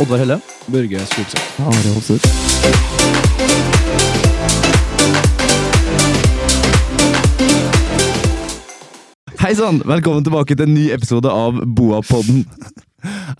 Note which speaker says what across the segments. Speaker 1: Oddvar Helle.
Speaker 2: Børge Skogseth.
Speaker 3: Are Hofseth. Hei sann, velkommen tilbake til en ny episode av Boapodden.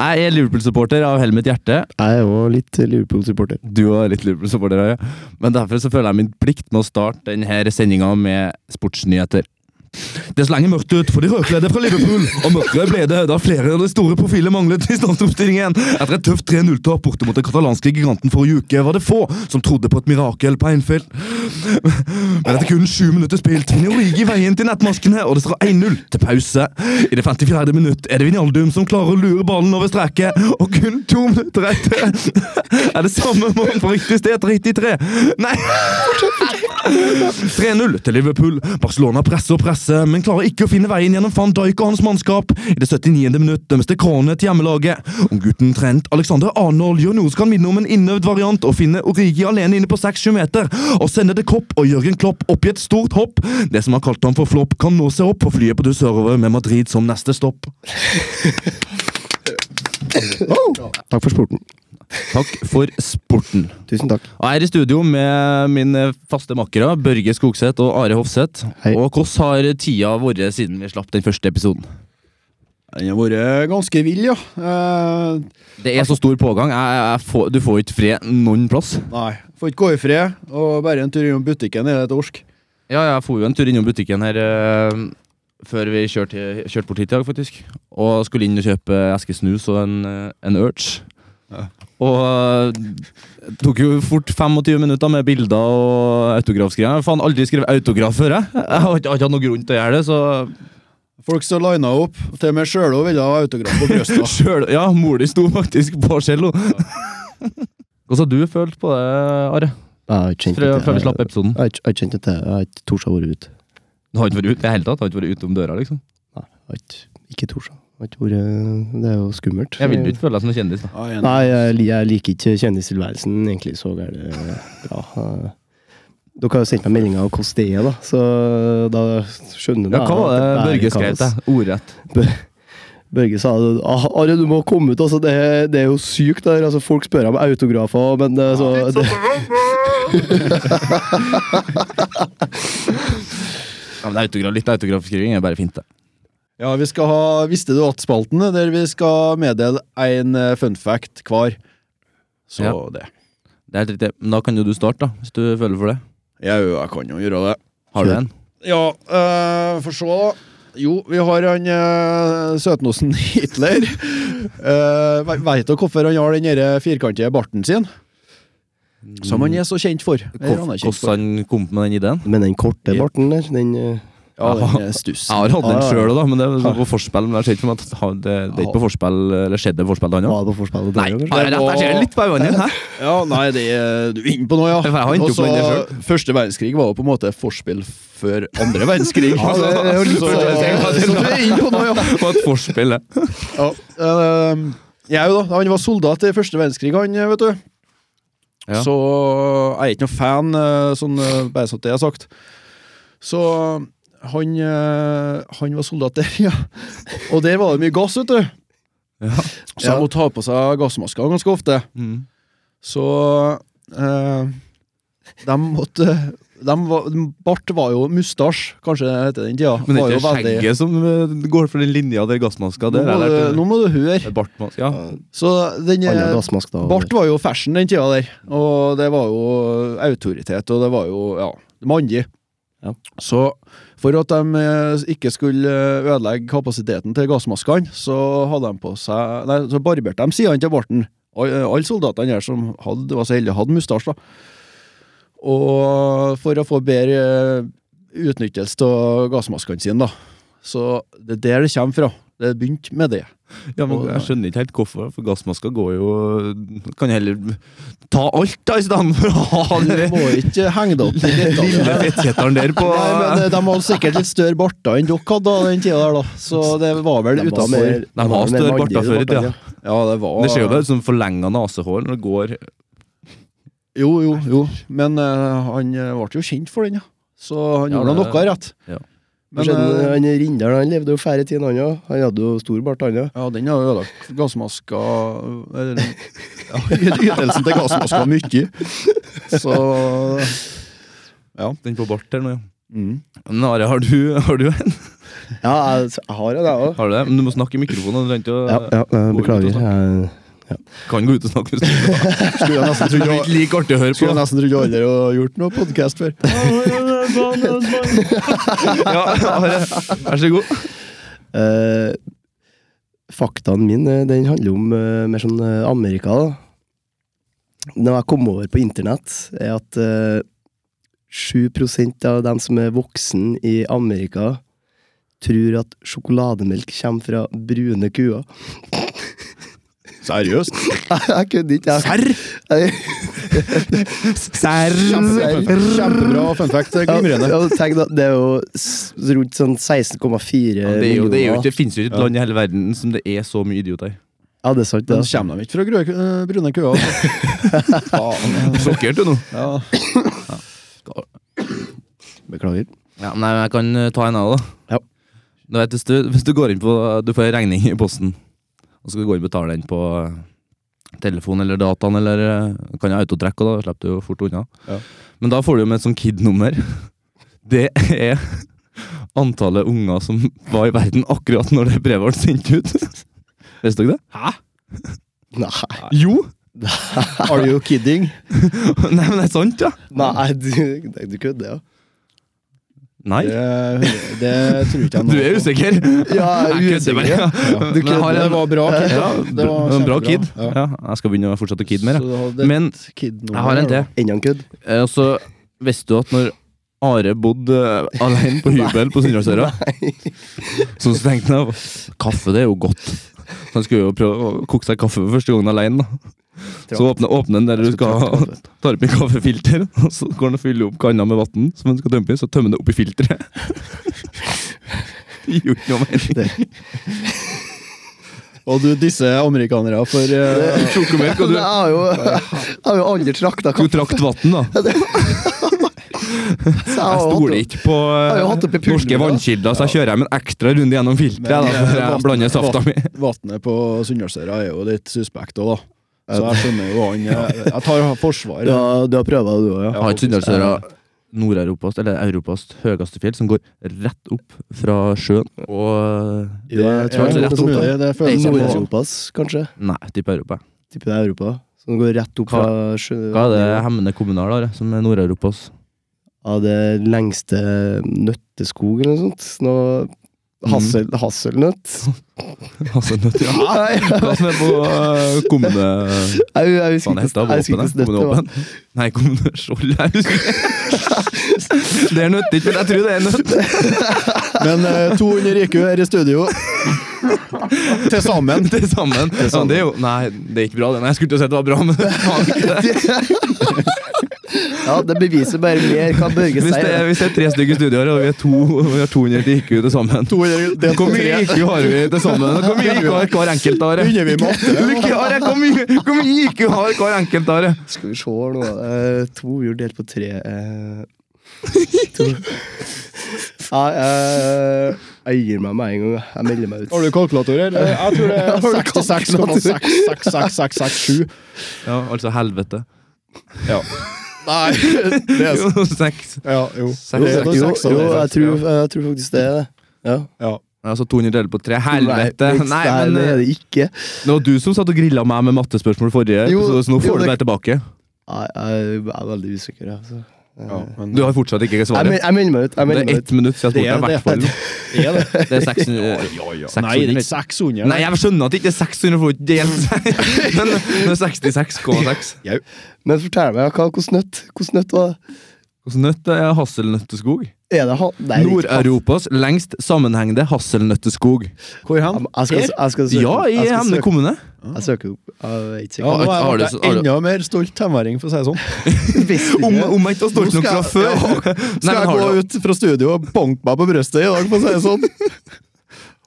Speaker 3: Jeg er Liverpool-supporter av hele mitt hjerte.
Speaker 4: Jeg er jo litt Liverpool-supporter.
Speaker 3: Du er litt Liverpool-supporter, Are. Men derfor så føler jeg min plikt med å starte denne sendinga med sportsnyheter. Det slenger mørkt ut for de rødkledde fra Liverpool, og mørkere ble det da flere av de store profilene manglet i startoppstillingen. Etter et tøft 3-0-tap borte mot den katalanske giganten forrige uke, var det få som trodde på et mirakel på Einfeld. Men etter kun sju minutter spilt vinner Origi veien til nettmaskene, og det står 1-0 til pause. I det 54. minutt er det Vinaldum som klarer å lure ballen over streket, og kun to minutter etter er det samme mål på riktig sted, 33. Nei 3-0 til Liverpool. Barcelona presser og presser, men klarer ikke å finne veien gjennom van Dijk og hans mannskap. I det 79. minutt dømmes det krone til hjemmelaget. Om gutten Trent Alexander Arnold gjør noe som kan minne om en innøvd variant, og finner Origi alene inne på 6-7 meter, og sender det Kopp og Jørgen Klopp opp i et stort hopp. Det som har kalt ham for flopp, kan nå se opp på flyet på tur sørover med Madrid som neste stopp.
Speaker 4: Takk for sporten.
Speaker 3: Takk for sporten.
Speaker 4: Tusen takk.
Speaker 3: Og jeg er i studio med mine faste makkere, Børge Skogseth og Are Hofseth.
Speaker 4: Hei.
Speaker 3: Og hvordan har tida vært siden vi slapp den første episoden?
Speaker 2: Den har vært ganske vill, ja. Eh,
Speaker 3: Det er så stor pågang. Jeg, jeg får, du får ikke fred noen plass.
Speaker 2: nei, får ikke gå i fred. Og bare en tur innom butikken er det et orsk.
Speaker 3: Ja, jeg får jo en tur innom butikken her eh, før vi kjørte, kjørte bort hit i dag, faktisk. Og skulle inn og kjøpe eske snus og en, eh, en Urge.
Speaker 2: Ja.
Speaker 3: Og eh, tok jo fort 25 minutter med bilder og autografskriver. Jeg har faen aldri skrevet autograf før, jeg. Jeg har ikke, har ikke hatt noen grunn til å gjøre det, så
Speaker 2: Folk står lina opp. Til og med Sjølå ville ha autograf på brystet.
Speaker 3: Sjøl Ja, mor di sto faktisk på cello. Hvordan har du følt på det, Are?
Speaker 4: Jeg har ikke kjent
Speaker 3: Fra,
Speaker 4: at
Speaker 3: fra vi
Speaker 4: jeg-
Speaker 3: slapp episoden?
Speaker 4: Jeg har ikke- jeg har ikke kjent at jeg jeg har ikke tort å være ute.
Speaker 3: Du har ikke vært ute i det hele tatt? Har ikke vært ute om døra, liksom?
Speaker 4: Nei, jeg har ikke, ikke tort. jeg har ikke vært- Det er jo skummelt.
Speaker 3: Jeg vil jo ikke føle deg som en kjendis. da.
Speaker 2: Ja, en-
Speaker 4: Nei, jeg, li- jeg liker ikke kjendistilværelsen egentlig så gærent bra. eh, Dere har jo sendt meg meldinger om hvordan det er, da. Så da skjønner
Speaker 3: Ja, hva var det
Speaker 4: at
Speaker 3: Børge
Speaker 4: det er
Speaker 3: skrev
Speaker 4: kaos.
Speaker 3: til? Ordrett.
Speaker 4: Børge sa det. «Ah, Are, du må komme ut. Altså, det, det er jo sykt. Der. Altså, folk spør om autografer, men det, så, det,
Speaker 3: Ja, men autograf, Litt autografskriving er bare fint, det.
Speaker 2: Ja, vi skal ha Visste du at-spalten, der vi skal meddele én fun fact hver. Så
Speaker 3: Ja.
Speaker 2: det.
Speaker 3: Det er helt riktig. Men da kan jo du starte, da, hvis du føler for det.
Speaker 2: Jau, jeg kan jo gjøre det.
Speaker 3: Har du en?
Speaker 2: Ja, øh, for så da. Jo, vi har han øh, søtnosen Hitler. uh, Veit dere hvorfor han har den der eh, firkantige barten sin? Som han er så kjent for. Eller han er kjent for.
Speaker 3: Hvordan han kom med den ideen?
Speaker 4: Men den korte barten der, den eh,
Speaker 2: Ja, den er stuss.
Speaker 3: Jeg har hatt den
Speaker 4: Ja, ja.
Speaker 3: sjøl, da, men det er sånn på forspill. Men jeg ser ikke for meg at ha- det, det er ikke på forspill, eller skjedde på forspill, han òg.
Speaker 4: var det på forspillet.
Speaker 3: Nei,
Speaker 4: der,
Speaker 3: har jeg rett? Jeg ser litt på øynene dine. hæ?
Speaker 2: Ja, nei, det er du er inne på noe,
Speaker 3: Jeg
Speaker 2: ja.
Speaker 3: har hentet opp
Speaker 2: Også,
Speaker 3: med det
Speaker 2: første verdenskrig var jo på en måte forspill før andre verdenskrig.
Speaker 3: Ja, det er jo litt
Speaker 2: så,
Speaker 3: forspill.
Speaker 2: så du er inne på noe, ja.
Speaker 3: Det var et forspill, det.
Speaker 2: ja. ehm, jeg jo da, han var soldat i første verdenskrig, han, vet du.
Speaker 3: Ja.
Speaker 2: Så jeg er ikke noe fan, eh, sånn, eh, bare så det er sagt. Så han, eh, han var soldat der, ja. Og der var det mye gass, vet du. Så han måtte ha på seg gassmasker ganske ofte.
Speaker 3: Mm.
Speaker 2: Så eh, de måtte de var, Bart var jo mustasj, kanskje det heter den tida.
Speaker 3: Men det
Speaker 2: Var
Speaker 3: er
Speaker 2: jo
Speaker 3: ikke
Speaker 2: veldig-
Speaker 3: skjegget som eh, går for den linja der gassmaska
Speaker 2: Nå
Speaker 3: der.
Speaker 2: må,
Speaker 3: eller?
Speaker 2: du, nå må du høre.
Speaker 3: Bartmask, ja.
Speaker 2: Så den
Speaker 4: Han
Speaker 2: eh,
Speaker 4: har gassmask, da.
Speaker 2: Bart var jo fashion den tida der, og det var jo autoritet, og det var jo ja, mandig.
Speaker 4: Ja.
Speaker 2: Så for at de eh, ikke skulle eh, ødelegge kapasiteten til gassmaskene, så hadde de på seg Nei, så barberte de sidene til barten. Al- eh, Alle soldatene her som hadde, var så heldige, hadde mustasje, da. Og for å få bedre eh, utnyttelse av gassmaskene sine, da. Så det er der det kommer fra. Det begynte med det.
Speaker 3: Ja, men jeg skjønner ikke helt hvorfor, for gassmasker går jo Kan heller ta alt, da, i stedet for å ha
Speaker 2: Du
Speaker 3: den
Speaker 2: må ikke henge deg opp i detaljene.
Speaker 3: lille fettkjetteren der på
Speaker 2: Nei, men eh, De hadde sikkert litt større barter enn dere hadde da, den tida der, da. Så det var vel
Speaker 4: De var
Speaker 2: utenfor
Speaker 4: mer-
Speaker 3: De har
Speaker 4: var mer
Speaker 3: større
Speaker 4: mandige,
Speaker 3: barter før i
Speaker 4: bartene,
Speaker 3: tida.
Speaker 2: Ja, det var
Speaker 3: Det ser jo bare ut som forlenga nesehår når det går
Speaker 2: Jo, jo, jo. Men eh, han eh, ble jo kjent for den, ja. Så han
Speaker 3: Ja,
Speaker 2: gjorde
Speaker 3: det-
Speaker 2: noe rett.
Speaker 3: ja.
Speaker 2: Men
Speaker 4: Men, skjønner,
Speaker 2: eh,
Speaker 4: han Rindal han levde jo færre tid enn han òg. Han hadde jo stor bart, han òg.
Speaker 2: ja, den har ødelagt gassmaska eller Ytelsen til gassmaska var mye. Så
Speaker 3: Den på bart her nå, ja.
Speaker 2: mm.
Speaker 3: Nare, har du, har du en?
Speaker 4: Ja, jeg jeg har jo det òg.
Speaker 3: Har du det? Men du må snakke i mikrofonen. Du kan ikke å-
Speaker 4: Ja, ja, jeg beklager. Jeg,
Speaker 3: kan gå ut og snakke hvis du vil.
Speaker 2: Skulle jeg nesten
Speaker 3: Det
Speaker 2: trodd
Speaker 3: er
Speaker 2: jeg-
Speaker 3: ikke like artig å høre
Speaker 2: skulle
Speaker 3: på.
Speaker 2: jeg nesten trodd jeg aldri har gjort noe podkast før.
Speaker 3: Ja, Are, Vær så god.
Speaker 4: Eh, faktaen min eh, den handler om eh, mer sånn eh, Amerika. da. Når jeg kom over på internett, er at eh, 7 av dem som er voksen i Amerika, tror at sjokolademelk kommer fra brune kuer.
Speaker 2: Seriøst?
Speaker 4: jeg kødder ikke. jeg-
Speaker 3: Serr?
Speaker 4: Jeg-
Speaker 3: Serr?
Speaker 2: Kjempebra, kjempebra fun fact. eh, Glimrende.
Speaker 4: Ja, tenk da, Det er jo s- rundt sånn 16,4
Speaker 3: Ja, det, er jo, det, er jo
Speaker 4: millioner.
Speaker 3: ikke, det finnes jo ikke et land i hele verden som det er så mye idioter i.
Speaker 4: Ja, det er sant, det.
Speaker 2: Den
Speaker 4: altså.
Speaker 2: kommer de ikke fra grø- eh, brune køer. altså. Faen.
Speaker 3: Sjokkert du nå?
Speaker 2: Ja.
Speaker 4: Beklager.
Speaker 3: Ja, nei, men jeg kan eh, ta en av det. da.
Speaker 4: Ja.
Speaker 3: Du vet, hvis, du, hvis du går inn på Du får en regning i posten, og skal gå inn og betale den på eh, telefon eller dataen, eller eh, kan jeg autotrekke, og da slipper du jo fort unna.
Speaker 2: Ja.
Speaker 3: Men da får du jo med et sånt KID-nummer. Det er antallet unger som var i verden akkurat når det brevet ble sendt ut. Visste dere det?
Speaker 4: Nei,
Speaker 3: Jo!
Speaker 2: Are you kidding?
Speaker 3: Nei, men det er sant, ja!
Speaker 4: Nei du, du kødder, ja.
Speaker 3: Nei.
Speaker 2: Det, det tror ikke jeg
Speaker 3: Du er usikker?
Speaker 4: Ja, jeg er
Speaker 3: Jeg kødder bare.
Speaker 2: Ja. eh,
Speaker 3: Men jeg har
Speaker 2: Det
Speaker 3: en-
Speaker 2: var bra. Kid.
Speaker 3: Ja,
Speaker 2: det var
Speaker 3: en bra
Speaker 2: kjempebra.
Speaker 3: kid.
Speaker 2: Ja.
Speaker 3: Ja, jeg skal begynne å fortsette å kidde mer. jeg.
Speaker 2: Så du hadde et
Speaker 3: Men
Speaker 2: kid-nummer,
Speaker 3: jeg har en til.
Speaker 4: Enda en kødd?
Speaker 3: Eh, Og så visste du at når Are bodde eh, alene på hybel på Sunnmørsøra, så tenkte han kaffe det er jo godt. Så han skulle jo prøve å koke seg kaffe for første gangen alene. Da. Så åpne, åpne den der du skal ha tar opp i kaffefilter, og så går han og fyller opp kanna med vann som han skal tømme i, så tømmer han det opp i filteret. Det Gjorde ikke noe mening.
Speaker 2: Og du disser amerikanere for eh,
Speaker 3: Sjokomelk, og
Speaker 4: Men
Speaker 3: du,
Speaker 4: Jeg har jo, jeg har jo aldri trakta
Speaker 3: du trakt vann, da. Jeg stoler ikke på eh,
Speaker 4: Jeg har hatt det på pulver,
Speaker 3: norske
Speaker 4: da.
Speaker 3: vannkilder, så jeg kjører en ekstra runde gjennom filteret da,
Speaker 2: Men, eh,
Speaker 3: før jeg blander safta mi.
Speaker 2: Vannet på Sunnmørsøra er jo litt suspekt òg, da. Så jeg skjønner jo han eh, Jeg tar forsvar.
Speaker 4: Du har, du har prøva det, du òg, ja?
Speaker 3: Jeg har ikke Sunnmørsøra Nord-Europas, eller Europas høyeste fjell, som går rett opp fra sjøen og
Speaker 4: Det er-
Speaker 2: Jeg tror
Speaker 4: jeg
Speaker 2: det er rett og mulig. Det føles som det.
Speaker 4: Nord-Europas, kanskje?
Speaker 3: Nei, type Europa.
Speaker 4: Tipper det er Europa. Som går rett opp
Speaker 3: Hva-
Speaker 4: fra sjø...
Speaker 3: Hva er det hemmende kommunal har, som er Nord-Europas?
Speaker 4: Ja, det lengste nøtteskog eller noe sånt.
Speaker 3: Mm.
Speaker 4: Noe hassel, hasselnøtt.
Speaker 3: Altså, nøtt, ja.
Speaker 4: Nei,
Speaker 3: Hva som er på eh, kommune...
Speaker 4: jeg, jeg husker
Speaker 3: Faen, det
Speaker 4: ikke
Speaker 3: heter
Speaker 4: jeg
Speaker 3: våpenet.
Speaker 4: husker
Speaker 3: Kommune
Speaker 4: ikke hvordan det var.
Speaker 3: Åpen. Nei, kommune Skjold, jeg husker Det er nøtt, ikke, men jeg tror det er nøtt.
Speaker 2: Men eh, 200 IQ her i studio. Til sammen.
Speaker 3: Det er sammen. Ja, men det er jo, nei, det er ikke bra. det. Nei, jeg skulle til å si at det var bra, men faen ikke det.
Speaker 4: Ja, det beviser bare mer hva Børge
Speaker 3: Hvis det, er,
Speaker 4: sier.
Speaker 3: hvis det er tre stykker i studio her, og vi er to, og vi har 200 til IQ til sammen Hvor mye IQ har vi til sammen? Hvor mye IQ har hver enkelt av dere?
Speaker 2: Begynner vi med åtte?
Speaker 3: Lykke, Are! Hvor mye hvor mye IQ har hver enkelt av dere?
Speaker 4: Skal vi se her nå. eh, to hjul delt på tre eh, to. Ja, eh, jeg gir meg med en gang. Jeg melder meg ut.
Speaker 2: Har du kalkulator, eller? Jeg tror det
Speaker 4: Har du
Speaker 2: er 66,66667.
Speaker 3: Ja, altså helvete.
Speaker 2: Ja. Nei, det er
Speaker 3: Jo, seks.
Speaker 2: Ja, jo.
Speaker 3: Seks.
Speaker 2: Det er
Speaker 4: jo,
Speaker 2: noe
Speaker 4: jo,
Speaker 2: seks av det.
Speaker 4: jeg tror, jeg tror faktisk det er det. Ja.
Speaker 2: Ja.
Speaker 3: Altså 200 delt på tre. Helvete!
Speaker 4: Nei,
Speaker 3: Nei,
Speaker 4: nei, det
Speaker 3: men eh,
Speaker 4: er det ikke.
Speaker 3: det var du som satt og grilla meg med mattespørsmål forrige,
Speaker 4: Jo,
Speaker 3: episode, så nå
Speaker 4: jo,
Speaker 3: får du
Speaker 4: det-
Speaker 3: meg tilbake.
Speaker 4: Nei, jeg er veldig usikker. jeg, Altså.
Speaker 2: ja, men
Speaker 3: Du har fortsatt ikke
Speaker 4: Jeg, mel-
Speaker 3: svaret.
Speaker 4: jeg melder meg ut. Jeg
Speaker 3: Det
Speaker 4: melder
Speaker 3: er
Speaker 4: meg ut.
Speaker 3: ett minutt siden jeg spurte deg, i hvert fall.
Speaker 2: er det?
Speaker 3: Det er 600
Speaker 2: Ja, ja.
Speaker 3: 600.
Speaker 2: Nei, det er ikke 600.
Speaker 3: Nei, jeg skjønner at det ikke er 600 for det er ikke helt- Men det er 66,6
Speaker 4: Men fortell meg, hva, hvordan nøtt hvordan nøtt var det?
Speaker 3: Hvordan nøtt er hasselnøtteskog?
Speaker 4: Er det han? Nei, det er ikke han.
Speaker 3: Nord-Europas lengst sammenhengende hasselnøtteskog
Speaker 2: Hvor
Speaker 4: Jeg
Speaker 2: hen?
Speaker 4: jeg skal, jeg skal søke.
Speaker 3: Ja, i
Speaker 4: jeg skal
Speaker 3: Hemne
Speaker 4: søke.
Speaker 3: kommune
Speaker 4: Jeg søker opp. Jeg er ikke
Speaker 2: Ja,
Speaker 4: sikker.
Speaker 2: nå
Speaker 3: Har
Speaker 2: er
Speaker 3: du-
Speaker 2: jeg
Speaker 3: har
Speaker 2: vært
Speaker 3: du-
Speaker 2: enda mer stolt tenåring, for å si det sånn.
Speaker 4: Visste
Speaker 3: Om,
Speaker 4: ikke.
Speaker 3: om jeg ikke var stolt nok fra før Nei,
Speaker 2: Skal
Speaker 3: men
Speaker 2: jeg
Speaker 3: har
Speaker 2: gå
Speaker 3: du-
Speaker 2: ut fra studio og bonke meg på brøstet i dag, for å si det sånn?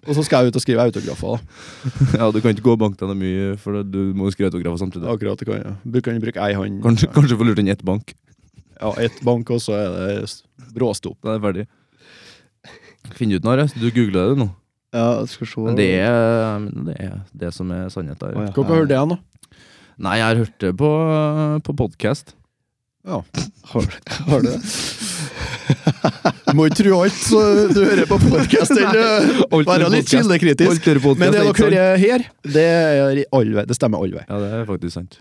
Speaker 2: Og så skal jeg ut og skrive autografer. da.
Speaker 3: Ja, du kan ikke gå og banke deg noe mye For da- du må jo skrive autografer samtidig
Speaker 2: Akkurat, det kan jeg. Bruker han bruke ei hånd?
Speaker 3: Kanskje, kanskje få lurt inn ett bank
Speaker 2: Ja, ett bank, og så er det s- bråstopp.
Speaker 3: Da er det ferdig Finn ut noe, Are. du googlet det nå
Speaker 4: Ja, jeg skal se.
Speaker 3: Men det er det, er, det som er sannhet
Speaker 4: Å,
Speaker 3: der
Speaker 4: ja.
Speaker 2: Hvor på hørte jeg nå?
Speaker 3: Nei, jeg har hørt det på, på podkast.
Speaker 4: Har, har du det?
Speaker 2: Du må ikke tro alt så du hører på podkast, eller være litt kildekritisk. Men det dere hører her, det, er i all vei, det stemmer all vei.
Speaker 3: Ja, det er faktisk sant.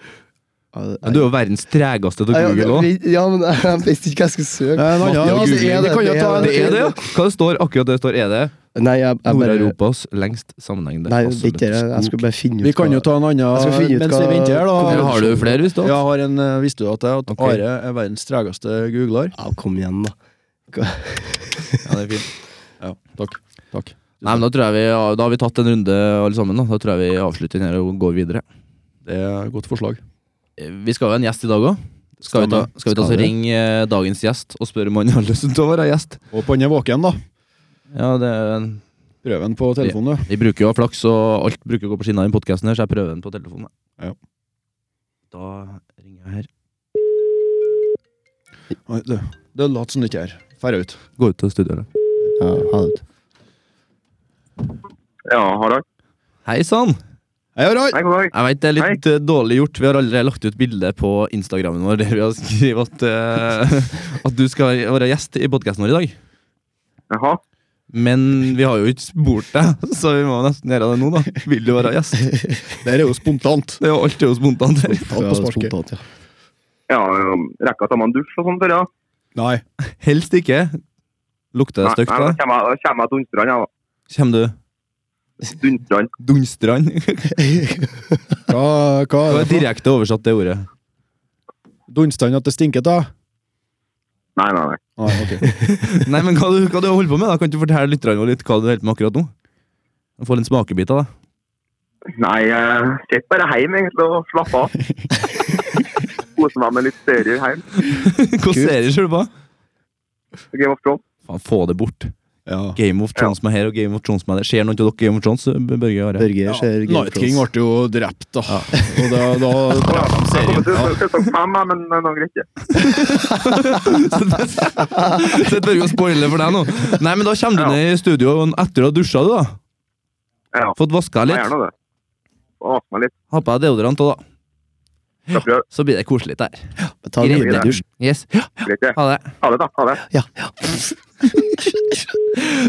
Speaker 4: Ja, det-
Speaker 3: Men du er jo verdens tregeste til
Speaker 4: Nei, jeg-
Speaker 3: Google òg.
Speaker 4: jeg- Ja, men jeg visste ikke hva jeg skulle søke.
Speaker 2: Nei, nei, ja,
Speaker 4: Ja,
Speaker 2: Google,
Speaker 4: det er det,
Speaker 2: vi kan jo
Speaker 4: det
Speaker 2: ta en-
Speaker 4: er
Speaker 3: Det er det, ja! Hva det står akkurat det står, er det
Speaker 4: Nei, jeg, jeg bare
Speaker 3: Nord-Europas lengst sammenhengende
Speaker 4: Nei, det er
Speaker 3: absolutt
Speaker 4: ikke det. Jeg
Speaker 3: skog.
Speaker 4: skulle bare finne ut
Speaker 2: Vi kan jo
Speaker 4: hva-
Speaker 2: ta en
Speaker 4: Jeg skal
Speaker 2: annen
Speaker 4: finne ut
Speaker 2: mens vi
Speaker 4: hva-
Speaker 2: venter her,
Speaker 3: Eller
Speaker 2: da.
Speaker 3: har du flere, hvis du
Speaker 2: Jeg har en, eh, Visste du at, jeg- at
Speaker 3: Ok.
Speaker 2: Are er verdens tregeste googler?
Speaker 4: Ja, kom igjen, da.
Speaker 3: Ja, det er fint.
Speaker 2: Ja, takk. takk.
Speaker 3: Nei, men da tror jeg vi Da har vi tatt en runde, alle sammen. Da Da tror jeg vi avslutter den her og går videre.
Speaker 2: Det er et godt forslag.
Speaker 3: Eh, Vi skal jo ha en gjest i dag òg. Skal vi ta,
Speaker 2: Stemmer.
Speaker 3: skal vi ta så
Speaker 2: Skal vi?
Speaker 3: ringe eh, dagens gjest og spørre om han har lyst til å være gjest?
Speaker 2: Og på den er våken, da.
Speaker 3: Ja, det er en
Speaker 2: Prøv den på telefonen, du.
Speaker 3: Vi bruker jo å ha flaks, og alt bruker å gå på skinner i den podcasten her, så jeg prøver den på telefonen. jeg.
Speaker 2: Ja.
Speaker 3: Da ringer jeg her.
Speaker 2: Oi, du. Det later som du ikke er her. Fær ut.
Speaker 3: Gå ut til studioet.
Speaker 4: Ja, ha det.
Speaker 1: Ja, Harald.
Speaker 3: Hei sann!
Speaker 2: Hei, Harald!
Speaker 1: Hei, god dag.
Speaker 3: Jeg vet det er litt eh, dårlig gjort. Vi har allerede lagt ut bilde på Instagrammen vår der vi har skrevet at, eh, at du skal være gjest i podkasten vår i dag.
Speaker 1: Jaha.
Speaker 3: Men vi har jo ikke spurt deg, så vi må nesten gjøre det nå, da. Vil du være gjest?
Speaker 2: Det er jo spontant.
Speaker 3: Det er jo alt er jo spontant her.
Speaker 2: Alt på sparket.
Speaker 4: Spontant, ja.
Speaker 1: Ja, um, rekker jeg å ta meg en dusj og sånn før, ja?
Speaker 2: Nei.
Speaker 3: Helst ikke. Lukter det
Speaker 1: Nei,
Speaker 3: stygt,
Speaker 1: nei, Da
Speaker 3: da?
Speaker 1: kommer jeg- da kommer jeg dunstrand, ja.
Speaker 3: Kjem du
Speaker 1: Dunstrand.
Speaker 3: dunstrand?
Speaker 2: Hva, hva
Speaker 3: Det
Speaker 2: er
Speaker 3: var
Speaker 2: det for?
Speaker 3: direkte oversatt, det ordet.
Speaker 2: Dunstand at det stinker, da?
Speaker 1: Nei, nei, nei.
Speaker 2: Nei, ok.
Speaker 3: Nei, men hva du, hva du holder på med da? Kan du fortelle lytterne våre litt hva du holder på med akkurat nå? Få litt smakebiter, da.
Speaker 1: Nei, jeg sitter bare hjemme egentlig og slapper av. Koser meg med litt serier hjemme.
Speaker 3: Hvilke serier ser du på?
Speaker 1: Game of Thrones.
Speaker 3: Faen, få det bort.
Speaker 2: Ja.
Speaker 3: Game of Thrones med her og Game of Thrones med der. Skjer noe til dere Game of Thrones, Børge Are?
Speaker 4: Børge ser Game
Speaker 2: Night
Speaker 4: of
Speaker 2: King
Speaker 4: Thrones.
Speaker 2: ble jo drept, da. Og da, da
Speaker 1: Jeg kommer til sesong sånn fem, jeg, men det er greit, det.
Speaker 3: Sett Børge og spoile for deg nå. Nei, men da kommer
Speaker 1: Ja.
Speaker 3: du ned i studio etter å ha dusja, du, da.
Speaker 1: Ja.
Speaker 3: Fått vaska
Speaker 1: Jeg
Speaker 3: litt.
Speaker 1: gjør nå det. Åpne meg litt.
Speaker 3: Ha på deg deodorant òg, da.
Speaker 1: Skal prøve.
Speaker 3: Så blir det koselig der.
Speaker 4: Ta en
Speaker 3: Greit,
Speaker 4: ordentlig
Speaker 1: det.
Speaker 4: dusj.
Speaker 3: Yes.
Speaker 1: Greit, det.
Speaker 3: Ha det.
Speaker 1: Ha det, da. Ha det.
Speaker 4: Ja, ja.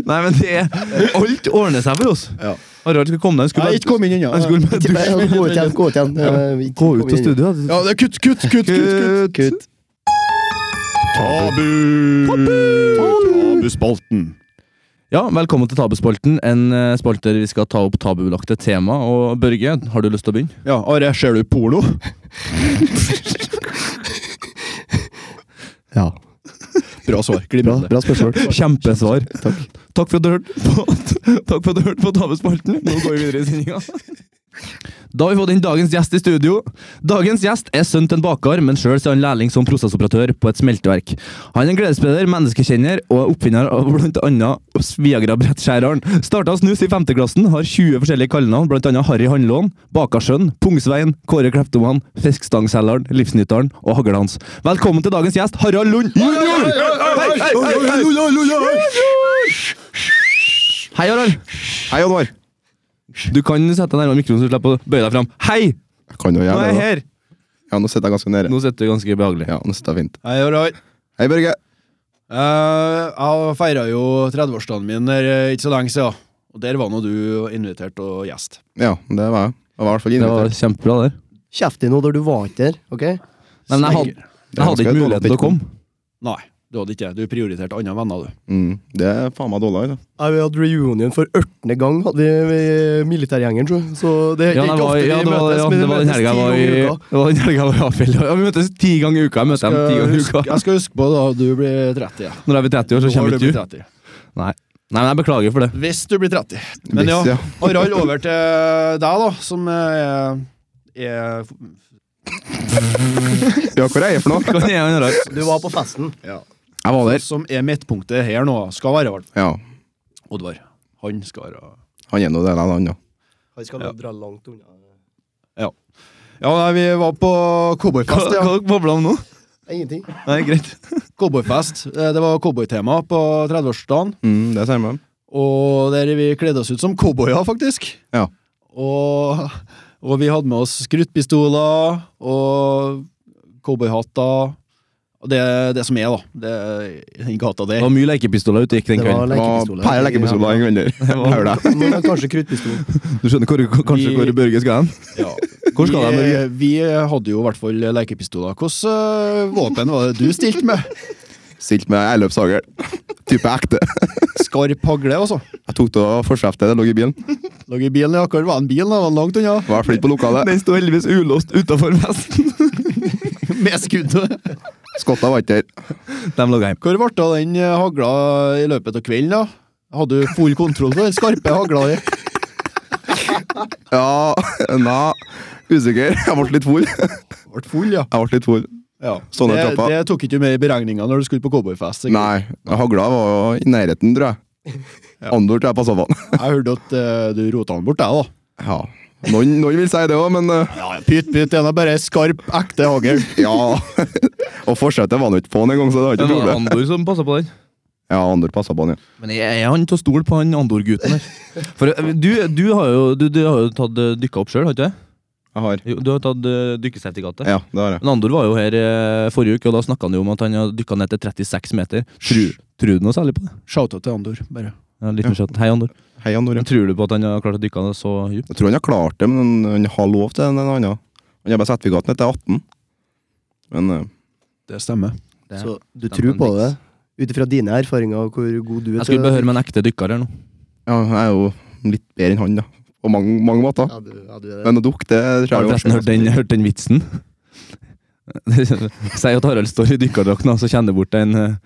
Speaker 3: Nei, men det er Alt ordner seg for oss.
Speaker 2: Ja.
Speaker 3: Harald skal komme deg. Han
Speaker 2: Jeg har
Speaker 3: skulle
Speaker 2: ikke kommet inn
Speaker 3: han
Speaker 2: ennå.
Speaker 3: skulle med
Speaker 4: Ikke-
Speaker 3: dusj.
Speaker 4: nei, Gå ut igjen, gå ut igjen. Eh, ikke
Speaker 3: Gå
Speaker 4: kom
Speaker 3: ut av
Speaker 4: inn.
Speaker 3: studio.
Speaker 2: Ja, det er kutt, kutt, kutt, kutt, kutt.
Speaker 4: Kutt.
Speaker 2: Tabu! Tabuspalten.
Speaker 3: Ja, velkommen til Tabuspolten, en eh, spalte der vi skal ta opp tabubelagte tema. Og Børge, har du lyst til å begynne?
Speaker 2: Ja, Are, ser du porno?
Speaker 4: Ja,
Speaker 2: Bra svar.
Speaker 4: bra,
Speaker 2: Glimrende.
Speaker 4: bra spørsmål.
Speaker 3: Kjempesvar. Takk. Takk for at du hørte på, takk for at du hørte på Tabespalten. Nå går vi videre i sendinga. Da har vi fått inn dagens gjest i studio. Dagens gjest er sønn til en baker, men sjøl er han lærling som prosessoperatør på et smelteverk. Han er en gledesspreder, menneskekjenner og er oppfinner av bl.a. Viagra-brettskjæreren. Starta å snus i femteklassen, har 20 forskjellige kallenavn, bl.a. Harry Handlån, Bakersønn, Pungsveien, Kåre Kleptoman, Fiskstangselgeren, Livsnyteren og hagla hans. Velkommen til dagens gjest, Harald Lund jr. Hei, hei, hei, hei. Hei, Harald.
Speaker 2: Hei, Oddvar.
Speaker 3: Du kan sette deg nærmere mikrofonen, så du slipper å bøye deg fram. Hei!
Speaker 5: Kan jo
Speaker 3: Nå
Speaker 5: gjøre
Speaker 3: er jeg
Speaker 5: det, da.
Speaker 3: her!
Speaker 5: Ja, nå sitter jeg ganske nede.
Speaker 3: Nå sitter du ganske behagelig.
Speaker 5: Ja, nå sitter jeg fint.
Speaker 2: Hei, Oddvar.
Speaker 5: Hei, Børge.
Speaker 2: Eh, jeg feira jo 30-årsdagen min der, eh, ikke så lenge siden. Og der var nå du invitert og gjest.
Speaker 5: Ja, det var jeg. Jeg var i hvert fall
Speaker 3: Det var
Speaker 5: invitert.
Speaker 3: kjempebra, det.
Speaker 4: Kjeft din nå når du var ikke der, ok?
Speaker 3: Nei, Men jeg hadde, jeg hadde ikke mulighet til å komme.
Speaker 2: Nei, du hadde ikke det. Du prioriterte andre venner, du.
Speaker 5: Mm, det er faen meg dårlig. Da.
Speaker 4: Ja, vi hadde reunion for ørtende gang, hadde vi, vi militærgjengen, tror jeg. Så det er
Speaker 3: Ja,
Speaker 4: ikke
Speaker 3: nei, var,
Speaker 4: ofte vi
Speaker 3: ja, det var,
Speaker 4: møtes,
Speaker 3: ja,
Speaker 4: men
Speaker 3: det
Speaker 4: vi
Speaker 3: var den
Speaker 4: møtes
Speaker 3: helga jeg var i
Speaker 4: ti ganger i uka.
Speaker 3: det var den helga jeg var i Hafjell. Ja, vi møtes ti ganger i uka. Jeg møter dem ti ganger i
Speaker 2: Jeg husker-
Speaker 3: uka.
Speaker 2: Eh, jeg skal huske på da du blir 30. Ja.
Speaker 3: Når jeg blir 30 år, så
Speaker 2: Når
Speaker 3: kommer
Speaker 2: du
Speaker 3: ikke
Speaker 2: blir
Speaker 3: du.
Speaker 2: 30.
Speaker 3: Nei, men jeg beklager for det.
Speaker 2: Hvis du blir 30. Men
Speaker 5: Hvis,
Speaker 2: ja,
Speaker 5: ja.
Speaker 2: Harald, over til deg, da, som eh, er
Speaker 5: ja, hvor er jeg for noe?
Speaker 3: Hva er han Harald?
Speaker 4: Du var på festen.
Speaker 5: Jeg var der.
Speaker 2: Som er midtpunktet her nå. Skal være, i hvert fall.
Speaker 5: Ja,
Speaker 2: Oddvar. Han skal være
Speaker 5: han er nå det, nei, han, ja.
Speaker 4: Han skal
Speaker 2: Ja.
Speaker 4: dra langt unna.
Speaker 2: Ja, nei, vi var på
Speaker 3: Hva
Speaker 2: cowboyfest,
Speaker 3: hva
Speaker 2: ja.
Speaker 3: dere babler om nå?
Speaker 4: Ingenting.
Speaker 3: Nei, greit.
Speaker 2: Cowboyfest. Eh, Det var cowboytema på 30-årsdagen.
Speaker 5: Mm, det ser jeg med.
Speaker 2: Og der vi kledde oss ut som cowboyer, faktisk.
Speaker 5: Ja.
Speaker 2: Og Og vi hadde med oss skruttpistoler og cowboyhatter. Og Det er det som er, da. Det er i gata
Speaker 3: Det
Speaker 2: der.
Speaker 3: var mye lekepistoler ute gikk den
Speaker 4: Det var
Speaker 3: kvelden.
Speaker 5: Det var
Speaker 4: lekepistoler.
Speaker 5: pære lekepistoler en gang der. Hør deg.
Speaker 4: Men Kanskje kruttpistol.
Speaker 5: Du skjønner hvor, kanskje
Speaker 2: Vi-
Speaker 5: hvor Børge skal hen?
Speaker 2: Ja.
Speaker 5: Hvor skal
Speaker 2: vi,
Speaker 5: de, Børge?
Speaker 2: vi hadde jo i hvert fall lekepistoler. Hvilket våpen var det du stilte med?
Speaker 5: Stilt med eiløpshager. Type ekte.
Speaker 2: Skarp hagle, altså.
Speaker 5: Jeg tok det av forsetet, det lå i bilen.
Speaker 2: Lå i bilen, ja. Hvor var den bilen? da? Var den langt unna?
Speaker 5: Var i hvert fall ikke på lokalet.
Speaker 3: Den sto heldigvis ulåst utafor vesten.
Speaker 2: Med skuddet.
Speaker 5: Skotta var ikke der.
Speaker 3: De lå hjemme.
Speaker 2: Hvor ble det av den eh, hagla i løpet av kvelden, da? Hadde du full kontroll på den skarpe hagla di?
Speaker 5: Ja, na, usikker. Jeg ble litt full. Jeg
Speaker 2: Ble full, ja.
Speaker 5: ble litt full.
Speaker 2: ja.
Speaker 5: Sånn er
Speaker 2: det,
Speaker 5: trappa.
Speaker 2: det tok ikke du med i beregninga når du skulle på cowboyfest. sikkert.
Speaker 5: Nei, hagla var i nærheten, tror jeg. Andor tror jeg passa på den.
Speaker 2: Jeg hørte at eh, du rota den bort, jeg, da.
Speaker 5: Ja. Noen, noen vil si det òg, men eh,
Speaker 2: Ja, pytt, pytt, den er bare skarp, ekte hagl.
Speaker 5: ja. Og forsetet var nå ikke på'n engang, så det var ikke
Speaker 3: Det
Speaker 5: noe
Speaker 3: var
Speaker 5: problem.
Speaker 3: Andor som passa på den.
Speaker 5: Ja, Andor passa på den, ja.
Speaker 3: Men jeg jeg er han til å stole på han Andor-gutten der. For eh, du, du har jo, du, du har jo tatt eh, dykka opp sjøl, har ikke du?
Speaker 5: Jeg har.
Speaker 3: Jo, Du har tatt eh, dykkesertifikatet.
Speaker 5: Ja, det har jeg.
Speaker 3: Men Andor var jo her eh, forrige uke, og da snakka han jo om at han har dykka ned til 36 meter. Tror, tror du noe særlig på det?
Speaker 2: Shout-out til Andor, bare.
Speaker 3: Ja, en liten shot. Hei, Andor.
Speaker 5: Hei, Andor. Ja.
Speaker 3: Men Tror du på at han har klart å dykke ned så dypt?
Speaker 5: Jeg tror han har klart det, men han har lov til en en annen. Han har bare sertifikaten etter 18. Men eh,
Speaker 2: Det stemmer.
Speaker 3: Det er-
Speaker 4: Så du tror på det? Ut ifra dine erfaringer og hvor god du er
Speaker 3: Jeg skulle behøre med en ekte dykker her nå.
Speaker 5: ja, jeg er jo litt bedre enn han, da. På mange, mange måter.
Speaker 4: Ja, du, ja, du er det.
Speaker 5: Men å dukke, det
Speaker 3: Har
Speaker 5: tror
Speaker 3: du
Speaker 5: jeg
Speaker 3: forresten hørt den, hørt den vitsen? Si at Harald står i dykkerdrakten og så kjenner bort en eh,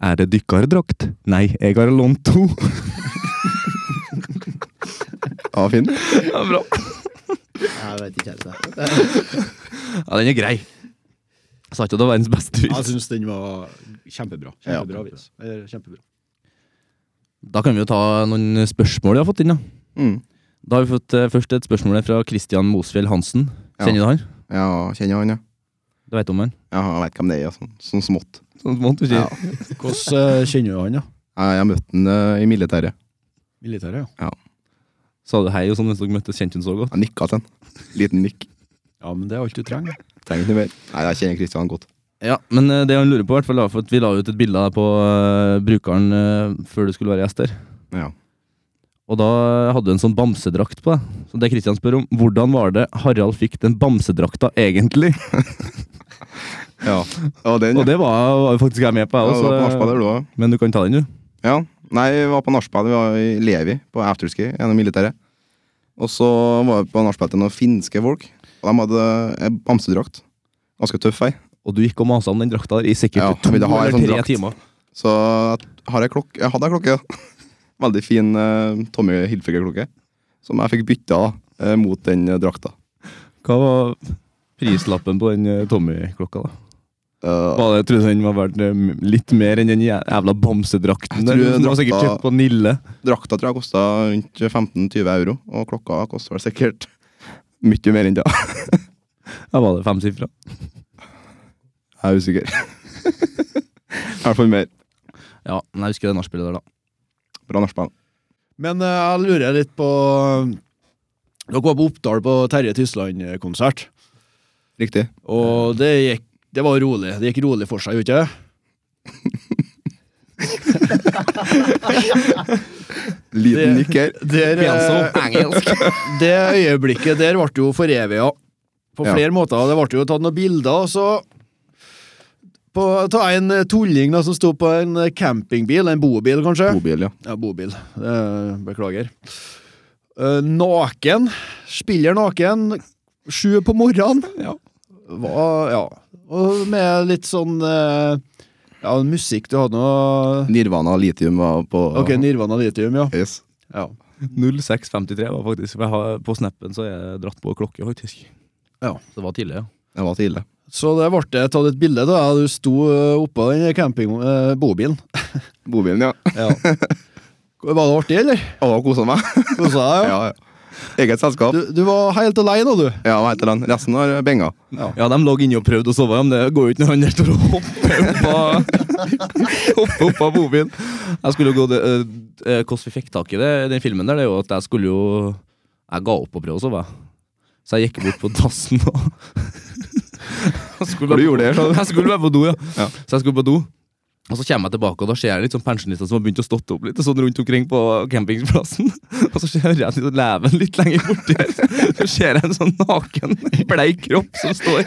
Speaker 3: Er det dykkerdrakt? Nei, jeg har lånt to.
Speaker 5: Ja, fin.
Speaker 3: Ja, bra.
Speaker 4: Jeg vet ikke, helt, jeg.
Speaker 3: Ja, den er grei. Jeg sa ikke at det var verdens beste
Speaker 2: Jeg
Speaker 3: vits.
Speaker 5: Altså-
Speaker 2: syns den var kjempebra. Kjempebra vits. Eller Kjempebra.
Speaker 3: Da kan vi jo ta noen spørsmål vi har fått inn. Da
Speaker 5: Mm.
Speaker 3: Da har vi fått eh, først et spørsmål her fra Christian Mosfjell Hansen.
Speaker 5: Ja.
Speaker 3: Kjenner du han?
Speaker 5: Ja, kjenner han, ja.
Speaker 3: Du vet om han?
Speaker 5: ja jeg vet hvem det er, ja. sånn, sånn smått.
Speaker 3: Sånn smått, du
Speaker 5: Ja.
Speaker 3: sier.
Speaker 2: Hvordan eh, kjenner du han, da?
Speaker 5: Jeg, jeg møtte han eh, i militæret.
Speaker 2: Militæret, ja.
Speaker 3: Sa du hei og sånn mens dere møttes? Kjente hun så godt?
Speaker 5: Jeg nikka til han. Liten nikk.
Speaker 2: Ja, men det er alt du trenger.
Speaker 5: Trenger ikke noe mer. Nei, jeg kjenner Kristian godt.
Speaker 3: Ja, men eh, det han lurer på, i hvert fall, da, for at vi la ut et bilde av deg på eh, brukeren eh, før du skulle være gjest her.
Speaker 5: Ja.
Speaker 3: Og da hadde du en sånn bamsedrakt på deg. Så det Kristian spør om, hvordan var det Harald fikk den bamsedrakta egentlig?
Speaker 5: ja. Og den,
Speaker 3: Og
Speaker 5: ja.
Speaker 3: det var, var jo faktisk jeg med på,
Speaker 5: Ja,
Speaker 3: jeg
Speaker 5: du var på
Speaker 3: også. eh,
Speaker 5: nachspiel der, du òg.
Speaker 3: Men du kan ta den, du.
Speaker 5: Ja. Nei, vi var på nachspiel. Vi var i Levi, på afterski, gjennom militæret. Og så var vi på nachspiel til noen finske folk. Og de hadde en bamsedrakt. Ganske tøff ei.
Speaker 3: Og du gikk og masa om den drakta der i sikkert
Speaker 5: Ja,
Speaker 3: to
Speaker 5: jeg ville ha en
Speaker 3: eller
Speaker 5: sånn
Speaker 3: tre
Speaker 5: drakt.
Speaker 3: timer.
Speaker 5: Så har jeg klokke. Jeg hadde ei klokke. ja. Veldig fin eh, Tommy Hilfiger-klokke. Som jeg fikk bytta da, eh, mot den eh, drakta.
Speaker 3: Hva var prislappen på den eh, Tommy-klokka, da?
Speaker 5: Eh,
Speaker 3: Var det, jeg trodde den var verdt eh, m- litt mer enn den jæ- jævla bamsedrakten.
Speaker 5: Jeg
Speaker 3: der,
Speaker 5: tror
Speaker 3: som Du var sikkert
Speaker 5: drakta-
Speaker 3: kjøpt på Nille.
Speaker 5: drakta tror jeg kosta rundt 15-20 euro, og klokka kosta vel sikkert mye mer enn det.
Speaker 3: Ja, var det femsifra?
Speaker 5: Jeg er usikker. I hvert fall mer.
Speaker 3: Ja, men jeg husker det nachspielet der, da.
Speaker 5: Bra nachspiel.
Speaker 2: Men eh, jeg lurer litt på eh, Dere var på Oppdal på Terje Tysland-konsert,
Speaker 5: Riktig.
Speaker 2: og det gikk det var rolig. Det gikk rolig for seg, gjorde ikke det?
Speaker 5: Liten
Speaker 2: Det-
Speaker 5: nikk her.
Speaker 2: Der, eh, det øyeblikket der ble jo foreviga på
Speaker 5: Ja.
Speaker 2: flere måter. Det ble jo tatt noen bilder, og så på, Ta en tulling da, som sto på en campingbil, en bobil kanskje.
Speaker 5: Mobil, ja.
Speaker 2: Ja, bobil. Eh, Beklager. Eh, Naken. Spiller naken. Sju på morgenen. Ja. Hva, ja. Og med litt sånn eh, Ja, musikk du hadde nå
Speaker 5: Nirvana Litium var på
Speaker 2: Ok, Nirvana Litium, ja.
Speaker 5: yes.
Speaker 2: ja.
Speaker 3: 06.53 var faktisk for jeg har, På snappen så er jeg dratt på klokke, faktisk.
Speaker 2: Ja.
Speaker 3: Så det var tidlig, ja.
Speaker 5: Det var til ille.
Speaker 2: Så det ble tatt et bilde da du sto eh, oppå den camping... eh, bobilen.
Speaker 5: Bobilen, ja.
Speaker 2: Ja. Var det artig, eller?
Speaker 5: Å, kosa meg.
Speaker 2: Kosa deg? Ja.
Speaker 5: Ja, ja. Eget selskap.
Speaker 2: Du, du var helt alene, du.
Speaker 5: Ja, hva heter den? Resten har benga.
Speaker 3: Ja, de lå inne og prøvde å sove, men det går jo ikke når han der står og hopper opp av Hopper opp av bobilen. Jeg skulle jo gå det, eh, eh, Hvordan vi fikk tak i det, den filmen der, det er jo at jeg skulle jo Jeg ga opp å prøve å sove. jeg. Så jeg gikk bort på dassen og Jeg skulle
Speaker 5: For du gjorde det, sa du?
Speaker 3: Jeg skulle være på do, ja.
Speaker 5: Ja.
Speaker 3: Så jeg skulle på do. Og så kommer jeg tilbake, og da ser jeg litt sånn pensjonister som har begynt å stått opp litt sånn rundt omkring på campingplassen. Og så ser jeg at de lever litt lenger borti her. Så ser jeg en sånn naken, bleik kropp som står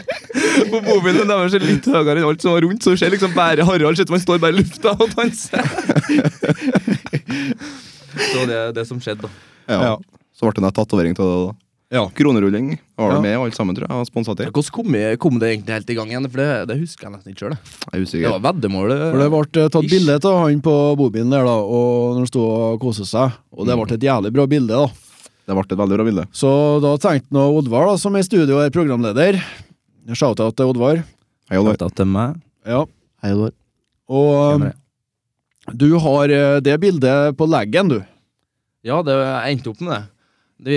Speaker 3: på mobilen. Den deres er litt høyere enn alt som var rundt, så du ser liksom bare Harald sitter man står bare i lufta og danser. Så det er det som skjedde, da.
Speaker 5: Ja.
Speaker 2: Ja.
Speaker 5: Så ble det en tatovering av det. da
Speaker 2: Ja.
Speaker 5: Kronerulling var det
Speaker 2: Ja.
Speaker 5: med, og alt sammen, tror jeg. og Sponsa til.
Speaker 3: Hvordan kom, jeg, kom det egentlig helt i gang igjen? For det, det husker jeg nesten ikke sjøl.
Speaker 5: Jeg er
Speaker 3: Det
Speaker 5: usikker.
Speaker 3: var eh. veddemålet.
Speaker 2: For det ble eh, tatt
Speaker 3: Ish.
Speaker 2: bilde av han på bobilen der, da, og når han sto og koste seg. Og det ble et jævlig bra bilde, da.
Speaker 5: Det ble et veldig bra bilde.
Speaker 2: Så da tenkte nå Oddvar, da, som er i studio og er programleder Shout-out til Oddvar.
Speaker 5: Hei, Oliver.
Speaker 3: Shout-out til meg.
Speaker 2: Ja.
Speaker 4: Hei, Oddvar.
Speaker 2: Og um, du har eh, det bildet på leggen, du.
Speaker 3: Ja, det jeg endte opp med det. Det,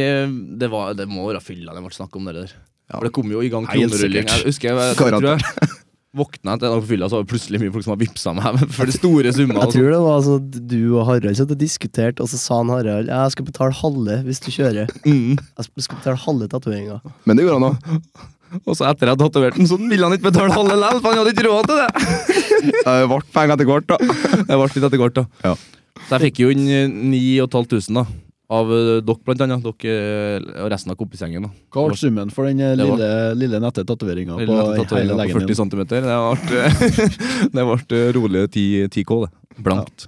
Speaker 3: det, var, det må være fylla det ble snakk om, det der.
Speaker 5: Ja.
Speaker 3: For det kom jo i gang
Speaker 2: Nei, helt
Speaker 3: kronerulling.
Speaker 2: sikkert.
Speaker 3: Jeg husker jeg, jeg,
Speaker 5: Garantert.
Speaker 3: tror jeg våkna etter en dag på fylla, så var det plutselig mye folk som hadde vippsa meg for de store summer.
Speaker 4: Jeg tror det var sånn at du og Harald satt og diskuterte, og så sa han Harald jeg skal betale halve hvis du kjører.
Speaker 3: Mm.
Speaker 4: Jeg skal- skal betale halve tatoveringa.
Speaker 5: Men det gjorde han òg.
Speaker 3: Og så etter jeg hadde tatovert den, så ville han ikke betale halve lell, for han hadde ikke råd til det.
Speaker 5: Det ble penger etter hvert, da.
Speaker 3: Det ble litt etter hvert, da.
Speaker 5: Ja.
Speaker 3: Så jeg fikk jo inn eh, 9500 da, av eh, dere, blant annet. Dere eh, og resten av kompisgjengen. da.
Speaker 2: Hva ble summen for den eh,
Speaker 3: Det var-
Speaker 2: lille, lille nette tatoveringa
Speaker 3: Eller
Speaker 2: på
Speaker 3: nettopp tatoveringen
Speaker 2: hele
Speaker 3: på
Speaker 2: leggen
Speaker 3: 40
Speaker 2: din?
Speaker 3: cm. Det ble, det ble rolig 10, 10K, det. Blankt.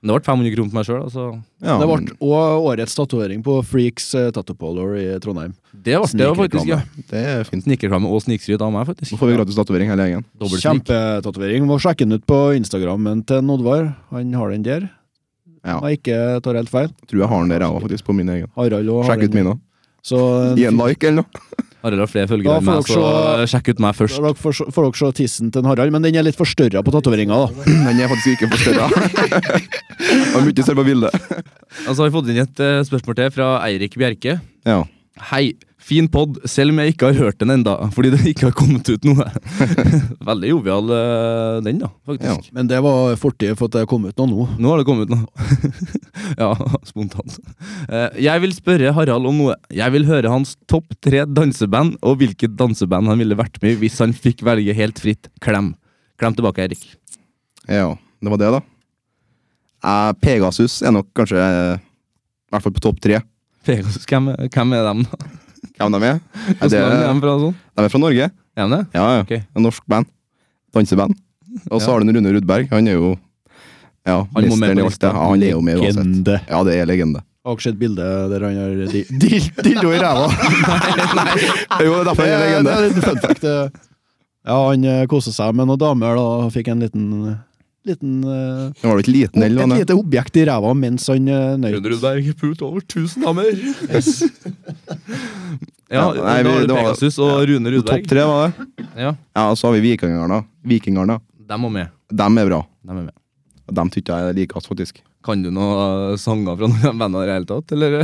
Speaker 3: Men det ble 500 kroner til meg sjøl, altså.
Speaker 5: Ja,
Speaker 2: Det
Speaker 5: men-
Speaker 2: ble òg årets tatovering på Freaks eh, Tattoo Parlor i Trondheim.
Speaker 3: Det ble det, faktisk. ja.
Speaker 5: Det er fint.
Speaker 3: Snikerreklame og snikskryt av meg, faktisk.
Speaker 5: Nå får vi gratis tatovering, hele gjengen.
Speaker 3: Dobbelt snik.
Speaker 2: Kjempetatovering. Må sjekke den ut på Instagrammen til Oddvar. Han har den der.
Speaker 5: Ja.
Speaker 2: Jeg ikke tar helt feil.
Speaker 5: Tror jeg har den der, jeg òg, faktisk. På min egen.
Speaker 2: Harald òg har
Speaker 5: Sjekk ut
Speaker 2: den.
Speaker 5: min òg.
Speaker 2: Så eh,
Speaker 5: Gi en like, eller noe.
Speaker 3: Harald har flere
Speaker 2: Da
Speaker 3: følgere enn
Speaker 2: får
Speaker 3: meg,
Speaker 2: dere
Speaker 3: så sjekk ut meg først.
Speaker 2: Dere får se- får dere se tissen til en Harald, men den er litt forstørra på tatoveringa. da.
Speaker 5: Den er faktisk ikke forstørra. Og mye selv på bildet.
Speaker 3: Og så har vi fått inn et eh, spørsmål til fra Eirik Bjerke.
Speaker 5: Ja.
Speaker 3: Hei, fin pod, selv om jeg ikke har hørt den enda, fordi det ikke har kommet ut noe. Veldig jovial eh, den, da,
Speaker 5: Ja.
Speaker 3: faktisk.
Speaker 2: Men det var fortid for at det kom ut noe nå.
Speaker 3: Nå har det kommet ut noe. ja, spontant. Eh, jeg vil spørre Harald om noe. Jeg vil høre hans topp tre danseband, og hvilket danseband han ville vært med i hvis han fikk velge helt fritt. Klem. Klem tilbake, Eirik.
Speaker 5: ja, det var det, da. Eh, Pegasus er nok kanskje eh, I hvert fall på topp tre.
Speaker 3: Pegasus, hvem, hvem er dem, da?
Speaker 5: Hvem de er? Eh,
Speaker 3: Hvordan
Speaker 5: Det,
Speaker 3: er dem fra og sånn?
Speaker 5: de er fra Norge.
Speaker 3: Er de det?
Speaker 5: Ja, ja.
Speaker 3: Ok.
Speaker 5: En norsk band. Danseband. Og så
Speaker 3: Ja.
Speaker 5: har du en Rune Rudberg. Han er jo ja,
Speaker 3: må med på
Speaker 5: mesteren i alt det.
Speaker 3: lista.
Speaker 5: Ja, han er jo med uansett.
Speaker 2: Legende.
Speaker 5: Ja, det er legende.
Speaker 2: Har dere sett bildet der han har di-
Speaker 5: Dill- Dildo i ræva! Jo, det er derfor han er
Speaker 2: Det
Speaker 5: legende.
Speaker 2: er en liten fun fact. eh. Ja, han eh, koste seg med noen damer da, og fikk en liten, liten eh,
Speaker 5: Han var vel ikke liten, eller?
Speaker 2: Et
Speaker 5: hva han er?
Speaker 2: lite objekt i ræva mens han eh, nøyt.
Speaker 3: Rudberg pult over 1000 damer. ja,
Speaker 5: Ja,
Speaker 3: da
Speaker 5: nei, vi-
Speaker 3: har du
Speaker 5: det var-
Speaker 3: Pegasus og Rune
Speaker 5: Topp
Speaker 3: Rudberg.
Speaker 5: tre, var det?
Speaker 3: Ja,
Speaker 5: Ja, og så har vi Vikingarna. Vikingarna.
Speaker 3: dem var med.
Speaker 5: Dem er bra.
Speaker 3: Dem er med.
Speaker 5: Dem syns jeg er likest, faktisk.
Speaker 3: Kan du noen eh, sanger fra noen av de bandene i det hele tatt, eller?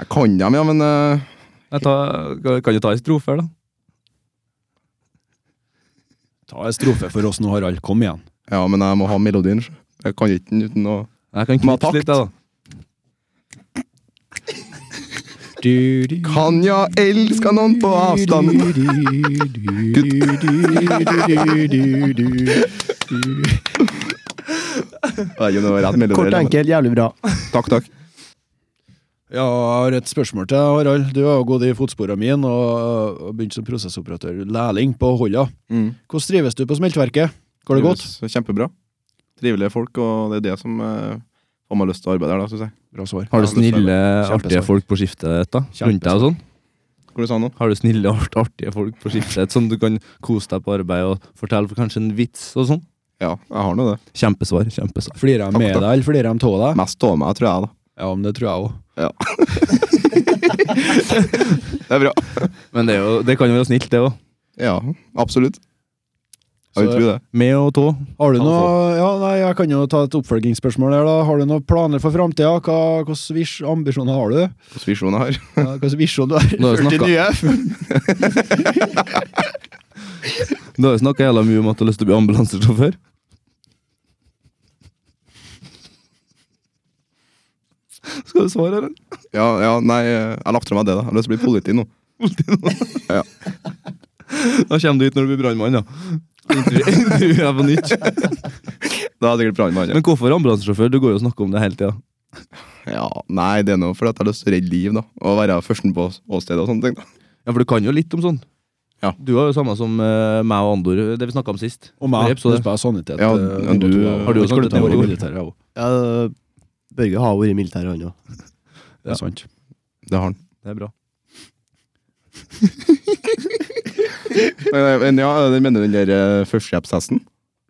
Speaker 5: Jeg kan dem, ja, men eh,
Speaker 3: Jeg tar, kan du ta en strofe her, da?
Speaker 2: Ta en strofe for oss nå, Harald. Kom igjen.
Speaker 5: Ja, men jeg må ha melodien. sjø. Jeg kan ikke den uten å
Speaker 3: Jeg kan
Speaker 5: Med
Speaker 3: knipse litt, jeg, da.
Speaker 2: Du, du,
Speaker 5: Kan jeg elske noen på avstand?
Speaker 2: du, du, du, du, du, du, du.
Speaker 5: Jeg vet ikke om det var rett melodi.
Speaker 4: Kort og
Speaker 5: eller-
Speaker 4: enkelt, jævlig bra.
Speaker 5: Takk, takk.
Speaker 2: Ja, jeg har et spørsmål til deg, Harald. Du har jo gått i fotsporene mine og og begynt som prosessoperatør, lærling på Holla.
Speaker 5: Mm.
Speaker 2: Hvordan trives du på smeltverket? Går det godt?
Speaker 5: Trives Kjempebra. Trivelige folk, og det er det som eh, får meg lyst til å arbeide der, da, synes jeg.
Speaker 2: Bra svar.
Speaker 3: Har du
Speaker 5: Ja, det er
Speaker 3: snille, artige
Speaker 2: Kjempesvar.
Speaker 3: folk på skiftet ditt, da? Rundt deg og sånn?
Speaker 5: Hva du sa nå?
Speaker 3: Har du snille, art- artige folk på skiftet ditt som du kan kose deg på arbeid og fortelle kanskje en vits og sånn?
Speaker 5: Ja, jeg har nå det.
Speaker 3: Kjempesvar. Kjempesvar.
Speaker 2: Flirer de
Speaker 5: Takk,
Speaker 2: med
Speaker 5: takk.
Speaker 2: deg, eller flirer de av deg?
Speaker 5: Mest av meg, tror jeg, da.
Speaker 2: Ja, men det tror jeg òg.
Speaker 5: Det er bra.
Speaker 3: Men det, er jo, det kan jo være snilt, det òg.
Speaker 5: Ja, absolutt. Jeg vil
Speaker 2: Så-
Speaker 5: tro det.
Speaker 3: Med og tå.
Speaker 2: Har du
Speaker 3: Han
Speaker 2: noe Ja, nei, jeg kan jo ta et oppfølgingsspørsmål her, da. Har du noen planer for framtida? Hva slags vis- ambisjoner har du?
Speaker 5: Hvilken visjon jeg har.
Speaker 2: Ja, Hva slags visjon du har?
Speaker 3: Nå har vi
Speaker 2: 40
Speaker 3: snakket.
Speaker 2: nye?
Speaker 3: Du har jo snakka jævla mye om at du har lyst til å bli ambulansesjåfør. Skal du svare, eller?
Speaker 5: eh, Ja, ja, nei, jeg har lagt fra meg det, da. Jeg har lyst til å bli politi nå. Ja.
Speaker 3: Da kommer du hit når du blir brannmann, da. Intervju- Intervjuer på nytt.
Speaker 5: Da er det sikkert brannmann.
Speaker 3: Men hvorfor ambulansesjåfør? Du går jo og snakker om det hele tida.
Speaker 5: Ja, nei, det er noe fordi at jeg har lyst til å redde liv, da. Og være førsten på åstedet og sånne ting. da.
Speaker 3: Ja, for du kan jo litt om sånn.
Speaker 5: Ja.
Speaker 3: Du har jo samme som eh, meg og Andor, det vi snakka om sist.
Speaker 2: Og meg.
Speaker 3: Rep, så det.
Speaker 2: Det spiller sanitet.
Speaker 5: Ja,
Speaker 2: eh,
Speaker 5: ja, du-
Speaker 2: nivå to,
Speaker 3: har du også
Speaker 2: klart
Speaker 3: klart nivå to?
Speaker 2: vært i militæret, jeg også.
Speaker 4: Ja, Børge har vært i militæret, han òg.
Speaker 2: Det er sant.
Speaker 5: Det har han.
Speaker 3: Det er bra.
Speaker 5: Men, men ja, den mener du den der eh, førstehjelpstesten?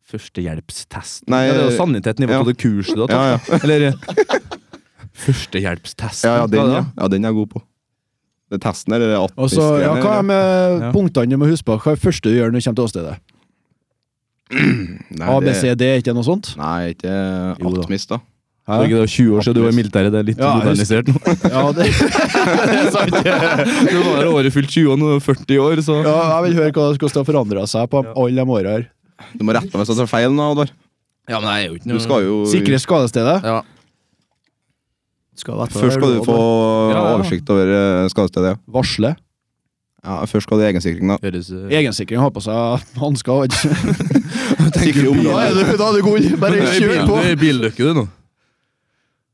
Speaker 3: Førstehjelpstesten.
Speaker 5: Nei,
Speaker 3: ja, det er jo sannheten i
Speaker 5: ja.
Speaker 3: hva det kurset du har
Speaker 5: Ja,
Speaker 3: tatt.
Speaker 5: ja.
Speaker 3: Eller Førstehjelpstesten.
Speaker 5: Ja, ja, den,
Speaker 3: hva er det
Speaker 5: ja.
Speaker 3: da?
Speaker 5: ja, den er jeg god på. Det er testen eller det
Speaker 2: Og så, ja,
Speaker 5: attmistgreiene,
Speaker 2: hva er
Speaker 5: eller?
Speaker 2: med
Speaker 3: Ja.
Speaker 2: punktene du må huske på? Hva er det første du gjør når du kommer til åstedet?
Speaker 5: Nei,
Speaker 2: A, B,
Speaker 5: det-
Speaker 2: C, D, ikke noe sånt?
Speaker 5: Nei, ikke
Speaker 2: Jo da.
Speaker 5: attmist, da.
Speaker 2: Hæ?
Speaker 3: Det er ikke det 20 år siden du var i militæret. Det er litt
Speaker 2: Ja, jeg
Speaker 3: modernisert nå.
Speaker 2: Ja, det,
Speaker 3: Du var her året fylt 20 år, nå er du 40 år, så
Speaker 2: ja, jeg vil høre hva hvordan det har forandra seg altså. på alle de åra her.
Speaker 5: Du må rette meg hvis jeg tar feil. nå, Oddvar.
Speaker 3: Ja, men jeg er jo ikke
Speaker 5: Du skal jo
Speaker 2: Sikre skadestedet?
Speaker 3: Ja.
Speaker 4: Skal være
Speaker 5: Først skal du få
Speaker 3: Ja, ja.
Speaker 5: oversikt over eh, skadestedet. ja.
Speaker 2: Varsle?
Speaker 5: Ja, først skal du ha egensikring, da.
Speaker 3: Høres eh,
Speaker 2: Egensikring har på seg hansker. og-
Speaker 5: Sikre
Speaker 2: Da er
Speaker 5: området.
Speaker 2: du- da er du god! Bare
Speaker 3: Du er i
Speaker 2: kjør
Speaker 3: bil-
Speaker 2: på!
Speaker 3: Du er i billøkke, du, nå.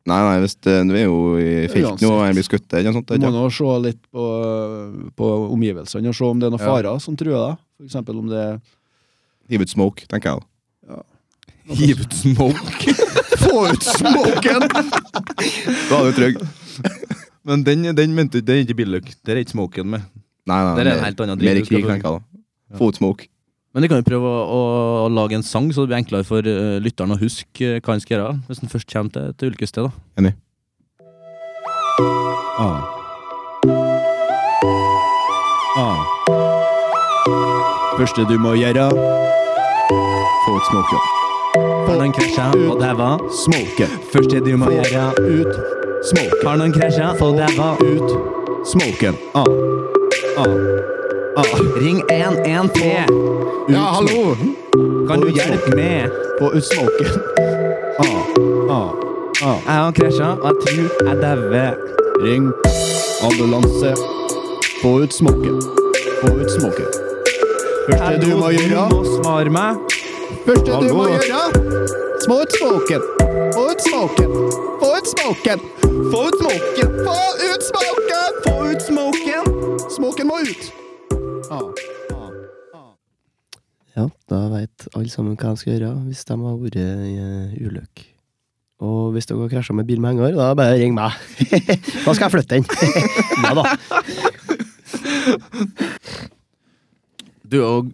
Speaker 5: Nei, nei, hvis det, du er jo i felt nå og jeg blir skutt eller noe sånt.
Speaker 2: Du må
Speaker 5: Ikke?
Speaker 2: nå se litt på, på omgivelsene og se om det er noen
Speaker 3: Ja.
Speaker 2: farer som truer deg. For eksempel om det er
Speaker 5: Hiv ut smoke, tenker jeg. da.
Speaker 3: Hiv ut smoke.
Speaker 2: Få ut smoken!
Speaker 5: Da er du trygg.
Speaker 3: Men den, den mente du, det er ikke billøk. Der er ikke smoken med.
Speaker 5: Nei, nei,
Speaker 3: Det er en
Speaker 5: mer-
Speaker 3: helt annen altså. driv
Speaker 5: Mer
Speaker 3: du skal
Speaker 5: krig,
Speaker 3: få.
Speaker 5: tenker jeg da. Få ut smoke.
Speaker 3: Men vi kan jo prøve å, å, å lage en sang, så det blir enklere for eh, lytteren å huske eh, hva han skal gjøre. Hvis han først kommer til, til ulykkesstedet.
Speaker 5: Enig.
Speaker 2: Første du må gjøre
Speaker 5: Få ut smoke, ja.
Speaker 3: Har noen krasja og daua?
Speaker 2: smoke.
Speaker 3: Først er det du må gjøre.
Speaker 2: Ut smoke.
Speaker 3: Har noen krasja og daua?
Speaker 2: Ut smoken.
Speaker 3: Ah. Ah. Ah. Ring 113.
Speaker 2: Ut smoke.
Speaker 3: Kan du hjelpe meg?
Speaker 2: Få ut smoken. Ah, ah.
Speaker 3: Jeg har krasja, og jeg tror jeg dauer.
Speaker 2: Ring ambulanse. Få ut smoken. Få ut smoken. Første du må gjøre
Speaker 3: svare meg.
Speaker 2: Første du må
Speaker 3: Hallo.
Speaker 2: gjøre Få ut smoken. Få ut smoken. Få ut smoken. Få ut smoken. Få ut smoken. Få ut smoken. Smoken må ut. Ah.
Speaker 4: Ja, da veit alle sammen hva de skal gjøre hvis de har vært i eh, ulykke. Og hvis dere har krasja med bil med henger, da bare ring meg. da skal jeg flytte den. ja da.
Speaker 3: Du, og,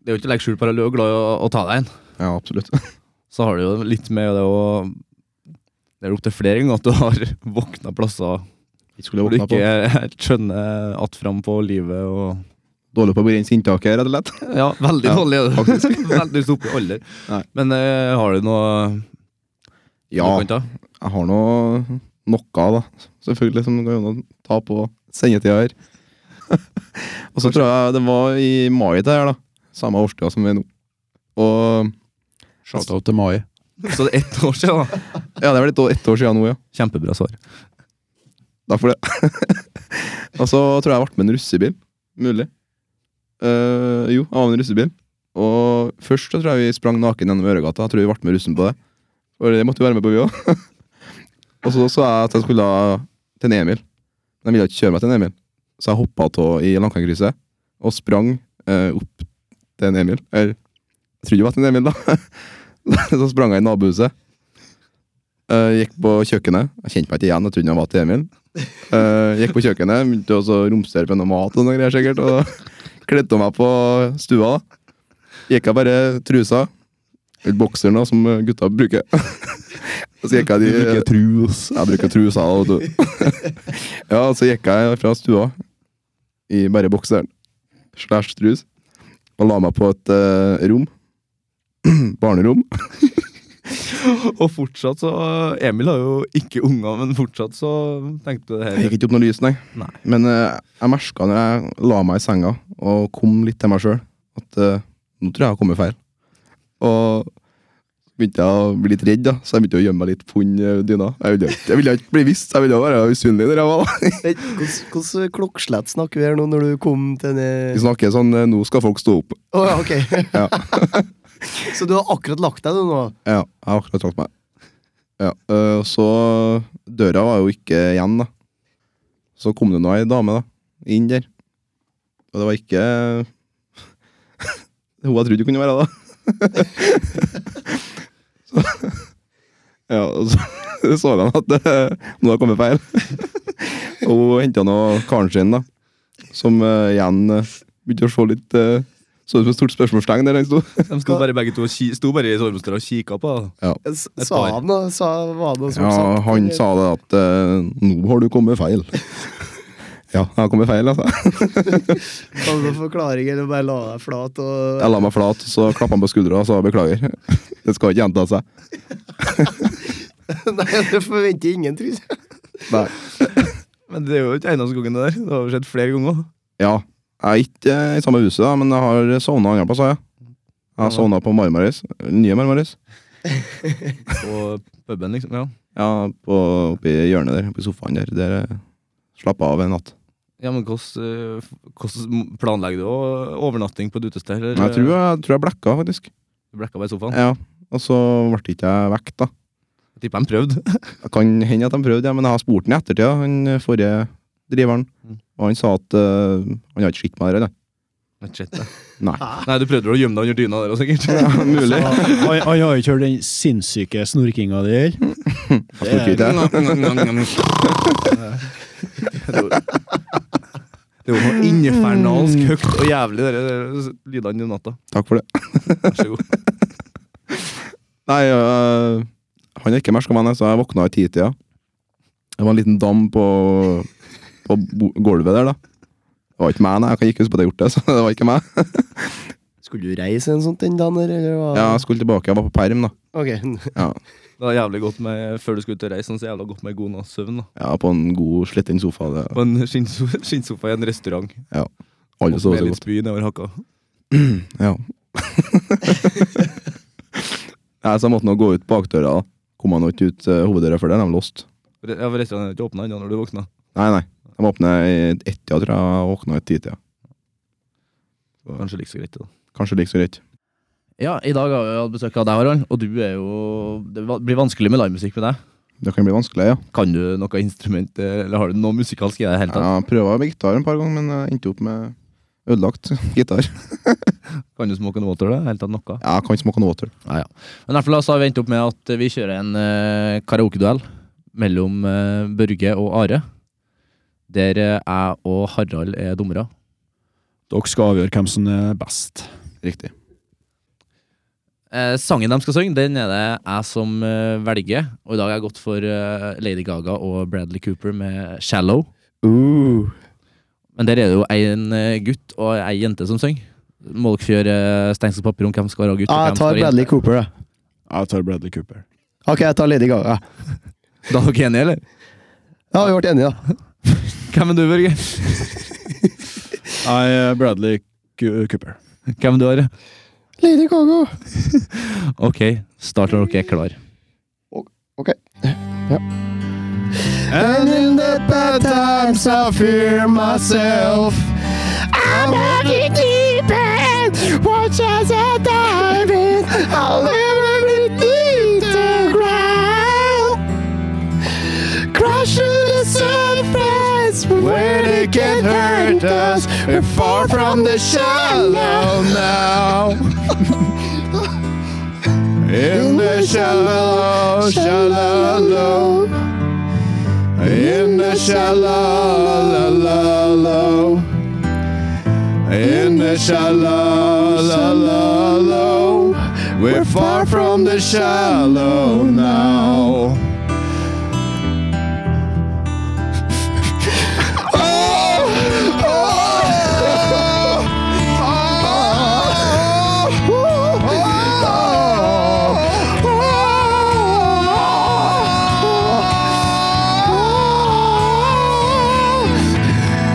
Speaker 3: det er jo ikke å legge skjul på at du er glad i å, å ta deg en.
Speaker 5: Ja, absolutt.
Speaker 3: Så har du jo litt med det å Det er opptil flere ganger at du har våkna plasser
Speaker 5: Vi skulle
Speaker 3: hvor du
Speaker 5: våkna
Speaker 3: ikke
Speaker 5: på.
Speaker 3: helt skjønner att fram på livet og
Speaker 5: Dårlig på å begrense inntaket, rett og slett.
Speaker 3: Ja, veldig
Speaker 5: Ja,
Speaker 3: dårlig. er det.
Speaker 5: faktisk.
Speaker 3: veldig oppe i alder.
Speaker 5: Nei.
Speaker 3: Men eh, har du noe
Speaker 5: Ja,
Speaker 3: du kan ta?
Speaker 5: jeg har nå noe, da. Selvfølgelig, som går an å ta på sendetida her. og så tror jeg det var i mai det her, da. Samme årstida som vi er nå. Og
Speaker 2: Shoutout til Mai.
Speaker 3: Så det er ett år siden, da.
Speaker 5: Ja, det er vel litt å- ett år siden nå, ja.
Speaker 3: Kjempebra svar.
Speaker 5: Derfor det. og så tror jeg jeg ble med en russebil. Mulig. Eh, jo, jeg var med en russebil. Og først så tror jeg vi sprang naken gjennom Øregata. Jeg tror vi ble med russen på det. For det måtte vi være med på, vi òg. og så sa jeg at jeg skulle til en Emil. Men de ville ikke kjøre meg til en Emil. Så jeg hoppa av i Langkangkrysset og sprang eh, opp til en Emil. Eller jeg trodde det var til en Emil, da. så sprang jeg i nabohuset. Eh, gikk på kjøkkenet. Jeg kjente meg ikke igjen. Jeg trodde han var til Emil. Eh, gikk på kjøkkenet, begynte også å romstere på noe mat og noe greier sikkert, og kledde av meg på stua. da. Gikk jeg bare trusa, eller bokseren da, som gutta bruker. Og så gikk jeg de... bruker trus. Jeg bruker trusa, da, vet du. ja, og så gikk jeg fra stua i bare bokseren, slash trus, og la meg på et eh, rom. Barnerom.
Speaker 3: Og fortsatt så eh, Emil har jo ikke unger, men fortsatt så tenkte du det
Speaker 5: Jeg
Speaker 3: her.
Speaker 5: gikk ikke opp noe lys, nei.
Speaker 3: Nei.
Speaker 5: Men eh, jeg merka når jeg la meg i senga og kom litt til meg sjøl, at eh, nå tror jeg jeg har kommet feil. Og begynte jeg å bli litt redd, da, så jeg begynte å gjemme meg litt under dyna. Jeg ville, jeg ville ikke bli visst, jeg ville være usynlig der jeg var. da.
Speaker 4: Hvilket klokkeslett snakker vi her nå, når du kom til
Speaker 5: Vi
Speaker 4: denne
Speaker 5: snakker sånn eh, Nå skal folk stå opp.
Speaker 4: Å ja, ok.
Speaker 5: Ja.
Speaker 4: Så du har akkurat lagt deg, du nå?
Speaker 5: Ja, jeg har akkurat lagt meg. Ja, øh, så Døra var jo ikke igjen, da. Så kom det nå ei dame, da. Inn der. Og det var ikke Hun jeg trodde det kunne være, da. så, ja, og så så han at øh, nå har kommet feil. og hun henta nå karen sin, da. Som øh, igjen øh, begynte å se litt øh, Så ut som et stort spørsmålstegn der den sto.
Speaker 3: De sto bare begge to og ki- sto bare i Sormsdal og kikka på. da.
Speaker 4: S-
Speaker 3: Et
Speaker 4: Sa
Speaker 3: par.
Speaker 4: han noe? Sa, var det noe som
Speaker 5: Ja,
Speaker 4: sagt,
Speaker 5: han
Speaker 4: eller?
Speaker 5: sa det at eh, Nå har du kommet feil. ja, jeg har kommet feil, altså.
Speaker 4: Hadde du noen forklaring, eller bare la deg flat og
Speaker 5: Jeg la meg flat, så klappa han på skuldra og sa beklager. Det skal ikke gjenta seg.
Speaker 4: Nei, du forventer ingen, tror jeg.
Speaker 5: Nei.
Speaker 3: Men det er jo ikke eneste gangen det der. Det har jo skjedd flere ganger.
Speaker 5: Ja. Jeg er ikke eh, i samme huset, da, men jeg har sovna andre plasser. Jeg Jeg har sovna på Marmaris. Nye Marmaris.
Speaker 3: Og puben, liksom. Ja.
Speaker 5: Ja, på, Oppi hjørnet der, oppi sofaen der. Der eh, slappa av en natt.
Speaker 3: Ja, men hvordan, eh, hvordan planlegger du å- overnatting på et utested? eller?
Speaker 5: Men jeg tror jeg, tror jeg blekka, faktisk.
Speaker 3: Du blekka bare i sofaen?
Speaker 5: Ja, Og så ble ikke jeg vekket, da.
Speaker 3: Jeg tipper de prøvde.
Speaker 5: Det kan hende at de prøvde, ja, men jeg har spurt den i ettertid, ja, han eh, forrige driveren.
Speaker 3: Mm.
Speaker 5: Og han sa at eh, han har ikke skitt meg der, da.
Speaker 3: Men shit, da.
Speaker 5: Nei.
Speaker 3: Nei, du prøvde å gjemme deg under dyna der også, sikkert.
Speaker 5: Ja, mulig.
Speaker 2: Han han har jo ikke hørt den sinnssyke snorkinga di heller.
Speaker 5: Jeg tror ikke det.
Speaker 3: Det er jo noe infernalsk høyt og jævlig, de eh, lydene i natta.
Speaker 5: Takk for det.
Speaker 3: Vær så god.
Speaker 5: Nei, eh, han er ikke merska meg, nei, så jeg våkna i titida. Det var en liten dam på, på bo- gulvet der, da. Det var ikke meg, nei. Jeg kan ikke huske på at jeg gjorde det, så det var ikke meg.
Speaker 4: Skulle du reise en sånn den dagen, eller hva?
Speaker 5: Ja, jeg skulle tilbake, jeg var på perm, da.
Speaker 4: Ok.
Speaker 3: Det var jævlig godt med, Før du skulle ut og reise, sånn, så jævla godt med god natts søvn. da.
Speaker 5: Ja, på en god, sliten sofa. Det.
Speaker 3: På en skinnso- skinnsofa i en restaurant.
Speaker 5: Alle så
Speaker 3: med
Speaker 5: så
Speaker 3: litt
Speaker 5: godt.
Speaker 3: spy nedover hakka.
Speaker 5: Ja. Nei, så jeg måtte nå gå ut bakdøra. da. Kom han nå ikke ut eh, hoveddøra før det, de var låst.
Speaker 3: Re- Ja, for Restauranten er ikke åpna ennå når du våkna.
Speaker 5: Nei, nei. De åpner i ett-tida, tror jeg. og Åpna i ti-tida.
Speaker 3: Kanskje like så greit. da.
Speaker 5: Kanskje like så greit.
Speaker 3: Ja, I dag har vi hatt besøk av deg, Harald, og du er jo Det blir vanskelig med livemusikk med deg.
Speaker 5: Det kan bli vanskelig, ja.
Speaker 3: Kan du noe instrument, eller har du noe musikalsk i deg i det hele tatt?
Speaker 5: Jeg prøva med gitar en par ganger, men jeg endte opp med ødelagt gitar.
Speaker 3: Kan du smoke and water, da? I det hele tatt noe?
Speaker 5: Jeg kan smoke noe water.
Speaker 3: Men i hvert fall da, så har vi endt opp med at vi kjører en eh, karaokeduell mellom eh, Børge og Are. Der eh, jeg og Harald er dommere.
Speaker 2: Dere skal avgjøre hvem som er best.
Speaker 5: Riktig.
Speaker 3: Eh, sangen de skal synge, den er det jeg som eh, velger. Og i dag har jeg gått for eh, Lady Gaga og Bradley Cooper med 'Shallow'.
Speaker 4: Uh,
Speaker 3: Men der er det jo en eh, gutt og ei jente som synger. Må dere gjøre eh, stein, saks, papir om hvem som skal være gutt?
Speaker 4: ah,
Speaker 3: og
Speaker 4: jeg
Speaker 3: hvem som
Speaker 4: tar
Speaker 3: skal være
Speaker 4: Bradley
Speaker 3: jente?
Speaker 4: Cooper, da.
Speaker 2: Jeg tar Bradley Cooper.
Speaker 4: Ok, jeg tar Lady Gaga.
Speaker 3: Da er dere enige, eller?
Speaker 4: Ja, vi ble enige, da.
Speaker 3: Hvem er du, Børge?
Speaker 2: Nei, eh, Bradley Cu- Cooper.
Speaker 3: Hvem er du, Are?
Speaker 4: Lady Gaga.
Speaker 3: Ok, start når dere er klar.
Speaker 4: Ok. Ja. And in the bad times I fear myself. I'm heading deep and watch as I dive in. I'll never be deep the ground. Crash to the surface when it can hurt us. We're far from the shallow now. In the shallow, shallow, in the shallow, in the shallow, we're far from the shallow now.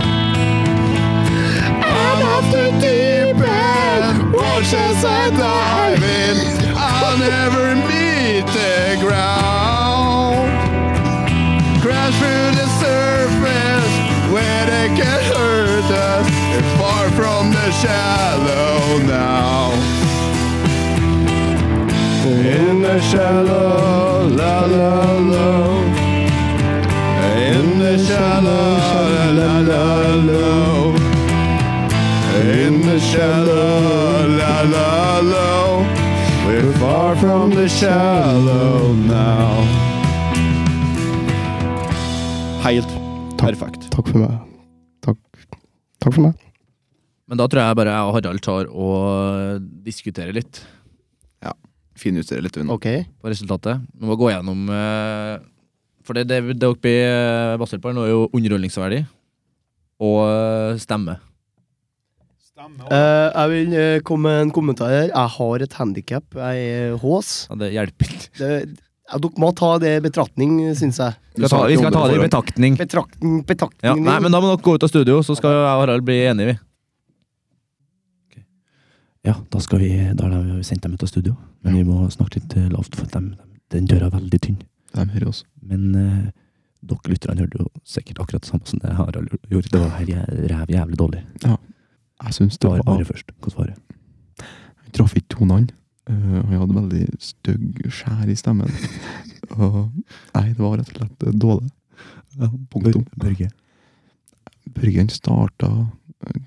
Speaker 6: I'm off the deep end. Watch as I dive in. I'll never be
Speaker 5: shallow now. In the shallow, la la la. In the shallow, la la la. In the shallow, la la la. We're far from the shallow now.
Speaker 2: Helt perfekt.
Speaker 4: Takk for meg. Takk, Takk for meg.
Speaker 3: Men da tror jeg bare jeg og Harald tar og eh, diskuterer litt
Speaker 5: Finjustere litt unna.
Speaker 4: Ok.
Speaker 3: på resultatet. Vi må gå gjennom eh, For det, det, det dere blir eh, basert på her nå, er jo underholdningsverdi og eh, stemme.
Speaker 4: Eh, jeg vil eh, komme med en kommentar her. Jeg har et handikap. Jeg er hås.
Speaker 3: Ja, det hjelper ikke.
Speaker 4: Det, ja, dere må ta det i betraktning, syns jeg.
Speaker 5: Du sa ikke om det på forhånd.
Speaker 3: betaktning.
Speaker 4: Betraktning,
Speaker 3: Ja,
Speaker 4: betraktning
Speaker 3: nei, men da må dere gå ut av studio, så skal jeg og Harald bli enige, vi. Ja, da skal vi Da har vi sendt dem ut av studio, men vi må snakke litt eh, lavt, for dem, den døra er veldig tynn.
Speaker 5: De hører oss.
Speaker 3: Men eh, dere lytterne hørte jo sikkert akkurat det samme som det Harald gjorde. Det var her jæ- ræv jævlig dårlig.
Speaker 5: Jeg syns det
Speaker 3: Svar
Speaker 5: var
Speaker 3: bare først. Hva svarer du?
Speaker 5: Jeg traff ikke tonene. Eh, og jeg hadde veldig stygg skjær i stemmen. Og nei, det var rett og slett eh, dårlig. Punktum.
Speaker 3: Børge.
Speaker 5: Børgen starta eh,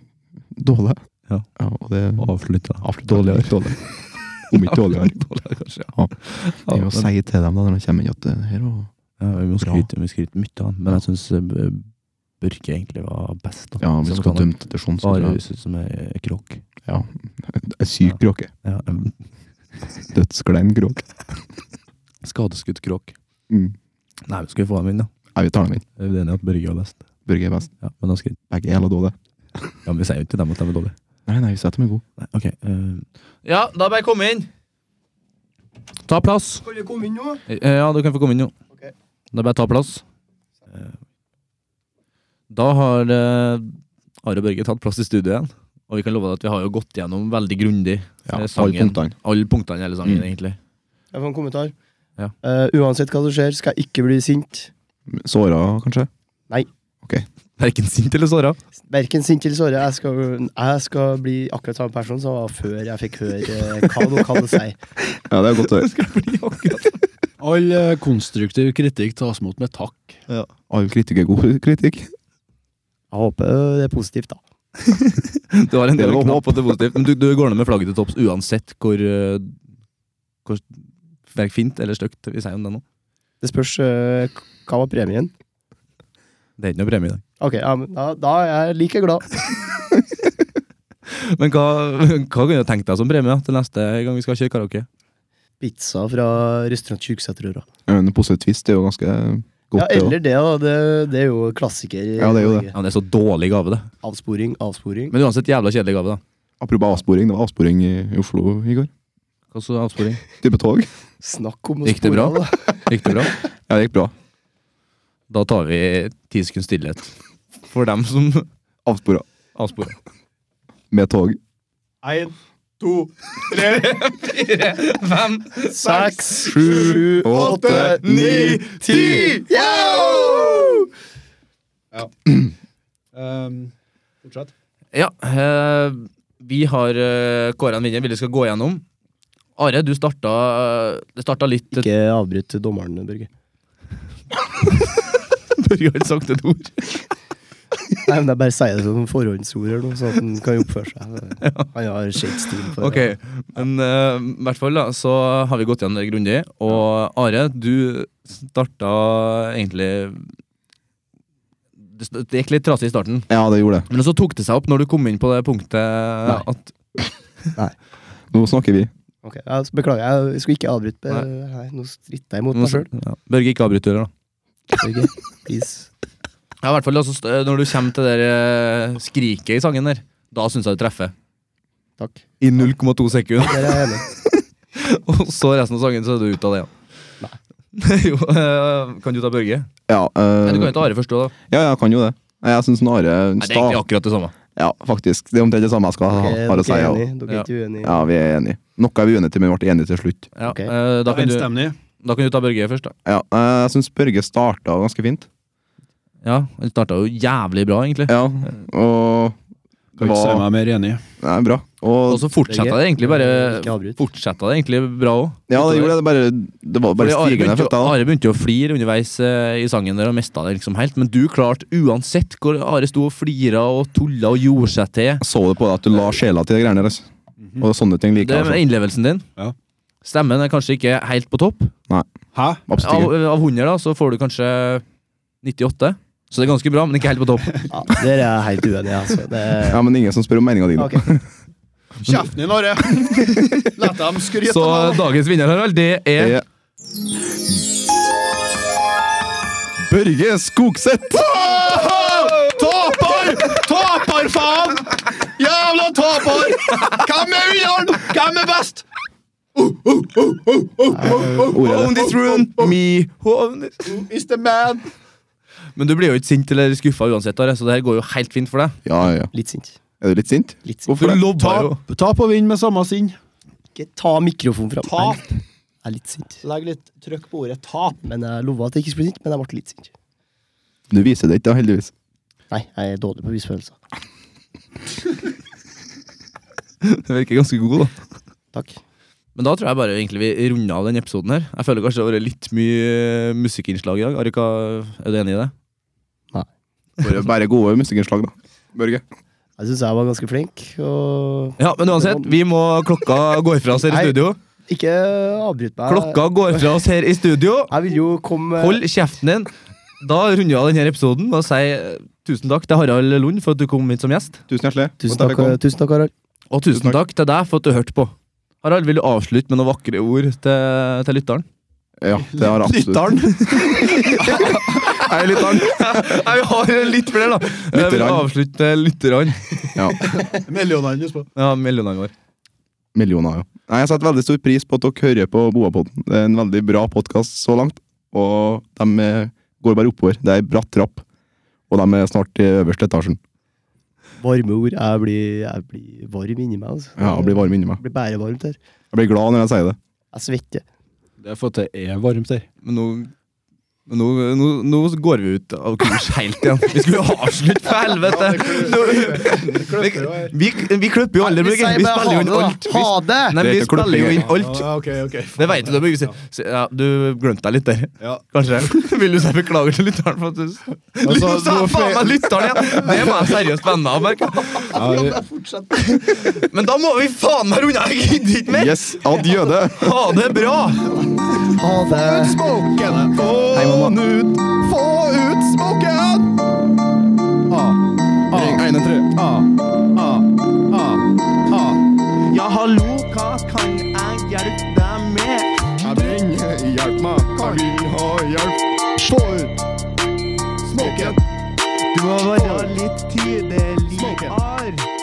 Speaker 5: dårlig.
Speaker 3: Ja.
Speaker 5: og det
Speaker 3: Avslutta.
Speaker 5: avslutta dårligere. Om ikke dårligere.
Speaker 3: Dårligere, kanskje.
Speaker 5: Ja.
Speaker 3: Ja,
Speaker 5: Det er å
Speaker 3: men-
Speaker 5: si til dem da når de kommer inn at det her var
Speaker 3: ja, vi må
Speaker 5: Bra.
Speaker 3: skryte, vi må skryte mye av han, men jeg syns Børge egentlig var best. da.
Speaker 5: Ja, vi
Speaker 3: Som
Speaker 5: skal
Speaker 3: kan-
Speaker 5: dømme til sånn, så tror
Speaker 3: Bare
Speaker 5: jeg-
Speaker 3: høres ut som ei kråk.
Speaker 5: En syk kråke.
Speaker 3: Ja, en
Speaker 5: Dødsglein kråke.
Speaker 3: skadeskutt kråk.
Speaker 5: Mm.
Speaker 3: Nei, vi skal vi få dem inn, da.
Speaker 5: Jeg vil ta dem inn.
Speaker 3: Jeg er uenig i at Børge er best.
Speaker 5: Børge er best.
Speaker 3: Ja, men da skal
Speaker 5: Begge er jævla dårlige.
Speaker 3: Ja, men vi sier jo ikke til dem at de er dårlige.
Speaker 5: Nei, nei, vi setter dem i god.
Speaker 3: Nei, ok. eh, Ja, da bare kom inn! Ta plass.
Speaker 4: Kan vi komme inn nå?
Speaker 3: Eh, Ja, du kan få komme inn nå.
Speaker 4: Ok.
Speaker 3: Da bare ta plass. Eh, Da har eh, Are og Børge tatt plass i studio igjen. Og vi kan love deg at vi har jo gått gjennom veldig grundig
Speaker 5: Ja,
Speaker 3: Eh,
Speaker 5: alle
Speaker 3: sangen.
Speaker 5: punktene.
Speaker 3: alle punktene i hele sangen,
Speaker 5: Mm.
Speaker 3: egentlig.
Speaker 4: Jeg får en kommentar.
Speaker 3: Ja.
Speaker 4: Eh, uansett hva som skjer, skal jeg ikke bli sint.
Speaker 5: Såra, kanskje?
Speaker 3: Verken sint eller såra.
Speaker 4: Verken sint eller såret. Jeg skal, jeg skal bli akkurat samme person som jeg var før jeg fikk høre eh, hva dere hadde å si.
Speaker 5: Ja, det er godt å høre.
Speaker 2: All eh, konstruktiv kritikk tas mot med takk.
Speaker 5: All kritikk er god kritikk.
Speaker 4: Jeg håper eh, det er positivt, da.
Speaker 3: Du har en
Speaker 5: Det
Speaker 3: del
Speaker 5: var
Speaker 3: å knappe på til positivt, men du, du går ned med flagget til topps uansett hvor, eh, hvor verk fint eller stygt vi sier om det nå.
Speaker 4: Det spørs eh, k- hva var premien.
Speaker 3: Det er ikke noe premie i dag.
Speaker 4: Ok, ja, men da, da er jeg like glad.
Speaker 3: Men hva, hva kan du tenke deg som premie da, til neste gang vi skal kjøre karaoke?
Speaker 4: Pizza fra restaurant Tjukseterøra.
Speaker 5: En positiv twist er jo ganske godt.
Speaker 4: Ja,
Speaker 5: det også.
Speaker 4: eller det, da. Det, det er jo klassiker. i
Speaker 5: Ja, det er jo det.
Speaker 4: Norge.
Speaker 3: Ja, men Det er så dårlig gave, det.
Speaker 4: Avsporing, avsporing.
Speaker 3: Men uansett jævla kjedelig gave, da.
Speaker 5: Apropos avsporing, det var avsporing i i Oslo i går.
Speaker 3: Hva så avsporing?
Speaker 5: Type tog.
Speaker 4: Snakk om å
Speaker 3: Gikk det bra?
Speaker 4: spore av, da.
Speaker 3: Gikk det bra?
Speaker 5: Ja, det gikk bra.
Speaker 3: Da tar vi ti sekunds stillhet for dem som
Speaker 5: Avspora
Speaker 3: avsporer.
Speaker 5: med tog.
Speaker 4: Én, to, tre,
Speaker 3: Fem,
Speaker 4: seks, sju, åtte, ni, ti! Yo!
Speaker 2: Ehm, fortsett.
Speaker 3: Ja, eh, vi har eh, kåret en vinner vi skal gå gjennom. Are, du starta Det starta litt
Speaker 4: Ikke avbryt dommeren, Børge.
Speaker 3: Børge har ikke sagt et ord.
Speaker 4: Nei, men Jeg bare sier det som forhåndsord, eller noe, sånn at han kan oppføre seg. Han har Shakespeare for
Speaker 3: Ok, Men eh, i hvert fall da, så har vi gått igjen grundig. Og Are, du starta egentlig det st- Det gikk litt trasig i starten,
Speaker 5: Ja, det gjorde det.
Speaker 3: men så tok det seg opp når du kom inn på det punktet at
Speaker 5: Nå snakker vi.
Speaker 4: Ok, jeg Beklager, jeg skulle ikke avbryte.
Speaker 3: Nei.
Speaker 4: Nei, nå stritta jeg imot meg sjøl.
Speaker 3: ja, Børge, ikke avbryt du heller, da.
Speaker 4: Børge, please.
Speaker 3: Ja, i hvert fall da, så st- Når du kommer til det der, eh, skriket i sangen der, da syns jeg du treffer.
Speaker 4: Takk.
Speaker 3: I 0,2 sekunder.
Speaker 4: Der er jeg enig.
Speaker 3: Og så resten av sangen, så er du ute av det, ja. jo, eh, kan du ta Børge?
Speaker 5: Ja, eh,
Speaker 3: Nei, du kan jo ta Are først òg, da.
Speaker 5: ja, jeg kan jo det. Nei, Jeg syns Are
Speaker 3: Nei, det er egentlig akkurat det samme.
Speaker 5: Ja, faktisk. Det er omtrent det samme jeg skal ha,
Speaker 4: Dere
Speaker 5: har
Speaker 4: dere
Speaker 5: å Ah, si.
Speaker 4: er
Speaker 5: Ja.
Speaker 4: enige? Dere er ikke uenige?
Speaker 5: ja, vi er enige. Noe er vi uenige til, men vi ble enige til slutt.
Speaker 3: Ja,
Speaker 4: Ok.
Speaker 3: eh, da, kan du,
Speaker 2: Enstemmig.
Speaker 3: da kan du ta Børge først, da.
Speaker 5: Ja, eh, Jeg syns Børge starta ganske fint.
Speaker 3: Ja, Han starta jo jævlig bra, egentlig.
Speaker 5: Ja, og
Speaker 2: Kan ikke si
Speaker 5: var
Speaker 2: meg mer enig.
Speaker 5: Nei, bra. Og,
Speaker 3: Og så fortsatte det egentlig bare
Speaker 4: Ikke avbryt.
Speaker 3: Fortsatte det egentlig bra òg.
Speaker 5: ja, det gjorde det. det. Bare, det var bare
Speaker 3: Fordi Are
Speaker 5: stigende
Speaker 3: begynte,
Speaker 5: føtter.
Speaker 3: jo-
Speaker 5: da.
Speaker 3: Are begynte jo å flire underveis eh, i sangen der og mista det liksom helt, men du klarte uansett hvor Are sto og flira og tulla og gjorde seg til.
Speaker 5: Jeg så det på deg at du la sjela til de greiene deres. Og sånne ting liker
Speaker 3: Eh, Mhm. Det med
Speaker 5: jeg. Altså.
Speaker 3: innlevelsen din.
Speaker 2: Ja.
Speaker 3: Stemmen er kanskje ikke helt på topp.
Speaker 2: Hæ?
Speaker 5: Absolutt
Speaker 3: Av,
Speaker 5: ikke.
Speaker 3: av 100 da, så får du kanskje 98, så det er ganske bra, men ikke helt på topp.
Speaker 4: Ja, der er jeg helt uenig, altså. Det,
Speaker 5: Ja, men ingen som spør om meninga di nå.
Speaker 4: Ok.
Speaker 2: Kjeften din, Are! La dem skryte
Speaker 3: Så dagens vinner Harald, det er
Speaker 5: Jeg- Børge Skogseth!
Speaker 2: Taper! Taper, faen! Jævla taper! Hvem er vinneren? Hvem er best?
Speaker 5: Ordet er det.
Speaker 3: Own this room, me own it.
Speaker 2: Is the man?
Speaker 3: Men du blir jo ikke sint eller skuffa uansett, Are, så det her går jo helt fint for deg.
Speaker 5: Ja, ja.
Speaker 4: Litt sint.
Speaker 5: Er du litt sint?
Speaker 4: Litt sint.
Speaker 5: Hvorfor det?
Speaker 2: Tap, tap og vinn med samme sinn.
Speaker 4: Ikke ta mikrofonen fram.
Speaker 2: Tap.
Speaker 4: Jeg er litt sint.
Speaker 2: Legg litt trykk på ordet tap.
Speaker 4: Men jeg lova at jeg ikke skulle bli sint, men jeg ble litt sint.
Speaker 5: Du viser det ikke, da, heldigvis.
Speaker 4: Nei, jeg er dårlig på visfølelser.
Speaker 3: Du virker ganske god, da.
Speaker 4: Takk.
Speaker 3: Men da tror jeg bare egentlig vi runder av den episoden her. Jeg føler kanskje det har vært litt mye eh, musikkinnslag i dag. Arika, er du enig i det?
Speaker 5: Bare, bare gode musikkinnslag, da. Børge.
Speaker 4: Jeg syns jeg var ganske flink, og
Speaker 3: Ja, men uansett, vi må klokka går fra oss her i
Speaker 4: Nei.
Speaker 3: studio.
Speaker 4: ikke avbryt meg.
Speaker 3: Klokka går fra oss her i studio.
Speaker 4: Jeg vil jo komme
Speaker 3: Hold kjeften din. Da runder vi av denne episoden med å si eh, tusen takk til Harald Lund for at du kom hit som gjest.
Speaker 5: Tusen hjertelig.
Speaker 4: Tusen
Speaker 5: Og
Speaker 4: takk,
Speaker 5: takk for-
Speaker 4: tusen takk Harald.
Speaker 3: Og tusen
Speaker 5: Tusen
Speaker 3: takk til deg for at du hørte på. Harald, vil du avslutte med noen vakre ord til, til lytteren?
Speaker 5: Ja, det har jeg absolutt.
Speaker 2: Lytteren.
Speaker 5: Jeg er lytteren.
Speaker 3: Nei, vi har litt flere, da. Jeg vil
Speaker 5: Lytterne.
Speaker 3: avslutte lytterne.
Speaker 5: Ja.
Speaker 2: Millionene, husk på.
Speaker 3: Ja, millionene våre.
Speaker 5: Millioner, ja. Nei, jeg setter veldig stor pris på at dere hører på Boapodden. Det er en veldig bra podkast så langt, og de eh, går bare oppover. Det er ei bratt trapp, og de er snart i øverste etasjen.
Speaker 4: Varme ord. Jeg blir, jeg blir varm inni meg. Altså.
Speaker 5: Ja, og blir varm inni meg.
Speaker 4: Jeg blir bare varmt her.
Speaker 5: Jeg blir glad når jeg sier det.
Speaker 4: Jeg svetter.
Speaker 2: Det er for at det er varmt her.
Speaker 3: Men nå, men nå, nå, nå går vi ut av kurs helt igjen. Vi skulle jo avslutte, for helvete! Nå- Vi, vi, vi klipper jo aldri, men vi vi spiller jo inn alt. Vi,
Speaker 4: Ha det!
Speaker 3: nei,
Speaker 5: Det
Speaker 3: vi
Speaker 5: heter
Speaker 3: spiller jo
Speaker 5: klipping.
Speaker 3: inn alt.
Speaker 2: ok, ok.
Speaker 3: Det vet du, da, Børge. Så- Ja, du glemte deg litt der.
Speaker 2: Ja. Altså,
Speaker 3: Kanskje. Vil du si beklager til lytteren? for at du... Nå sa jeg faen meg lytteren igjen! Det må jeg seriøst vende meg av, merker jeg. Men da må vi faen meg runde av! Jeg gidder ikke mer!
Speaker 5: Yes, adjø det!
Speaker 3: Ha det bra!
Speaker 4: Ha det!
Speaker 2: Smoken!
Speaker 5: Hei, mamma. Få ut smoken! Ah, ah, en, tre.
Speaker 3: Ja, hallo, hva kan jeg hjelpe deg med?
Speaker 5: Jeg trenger hjelp, meg. Jeg vil ha hjelp. Få ut smoken.
Speaker 3: Du må være litt tydelig, Ar.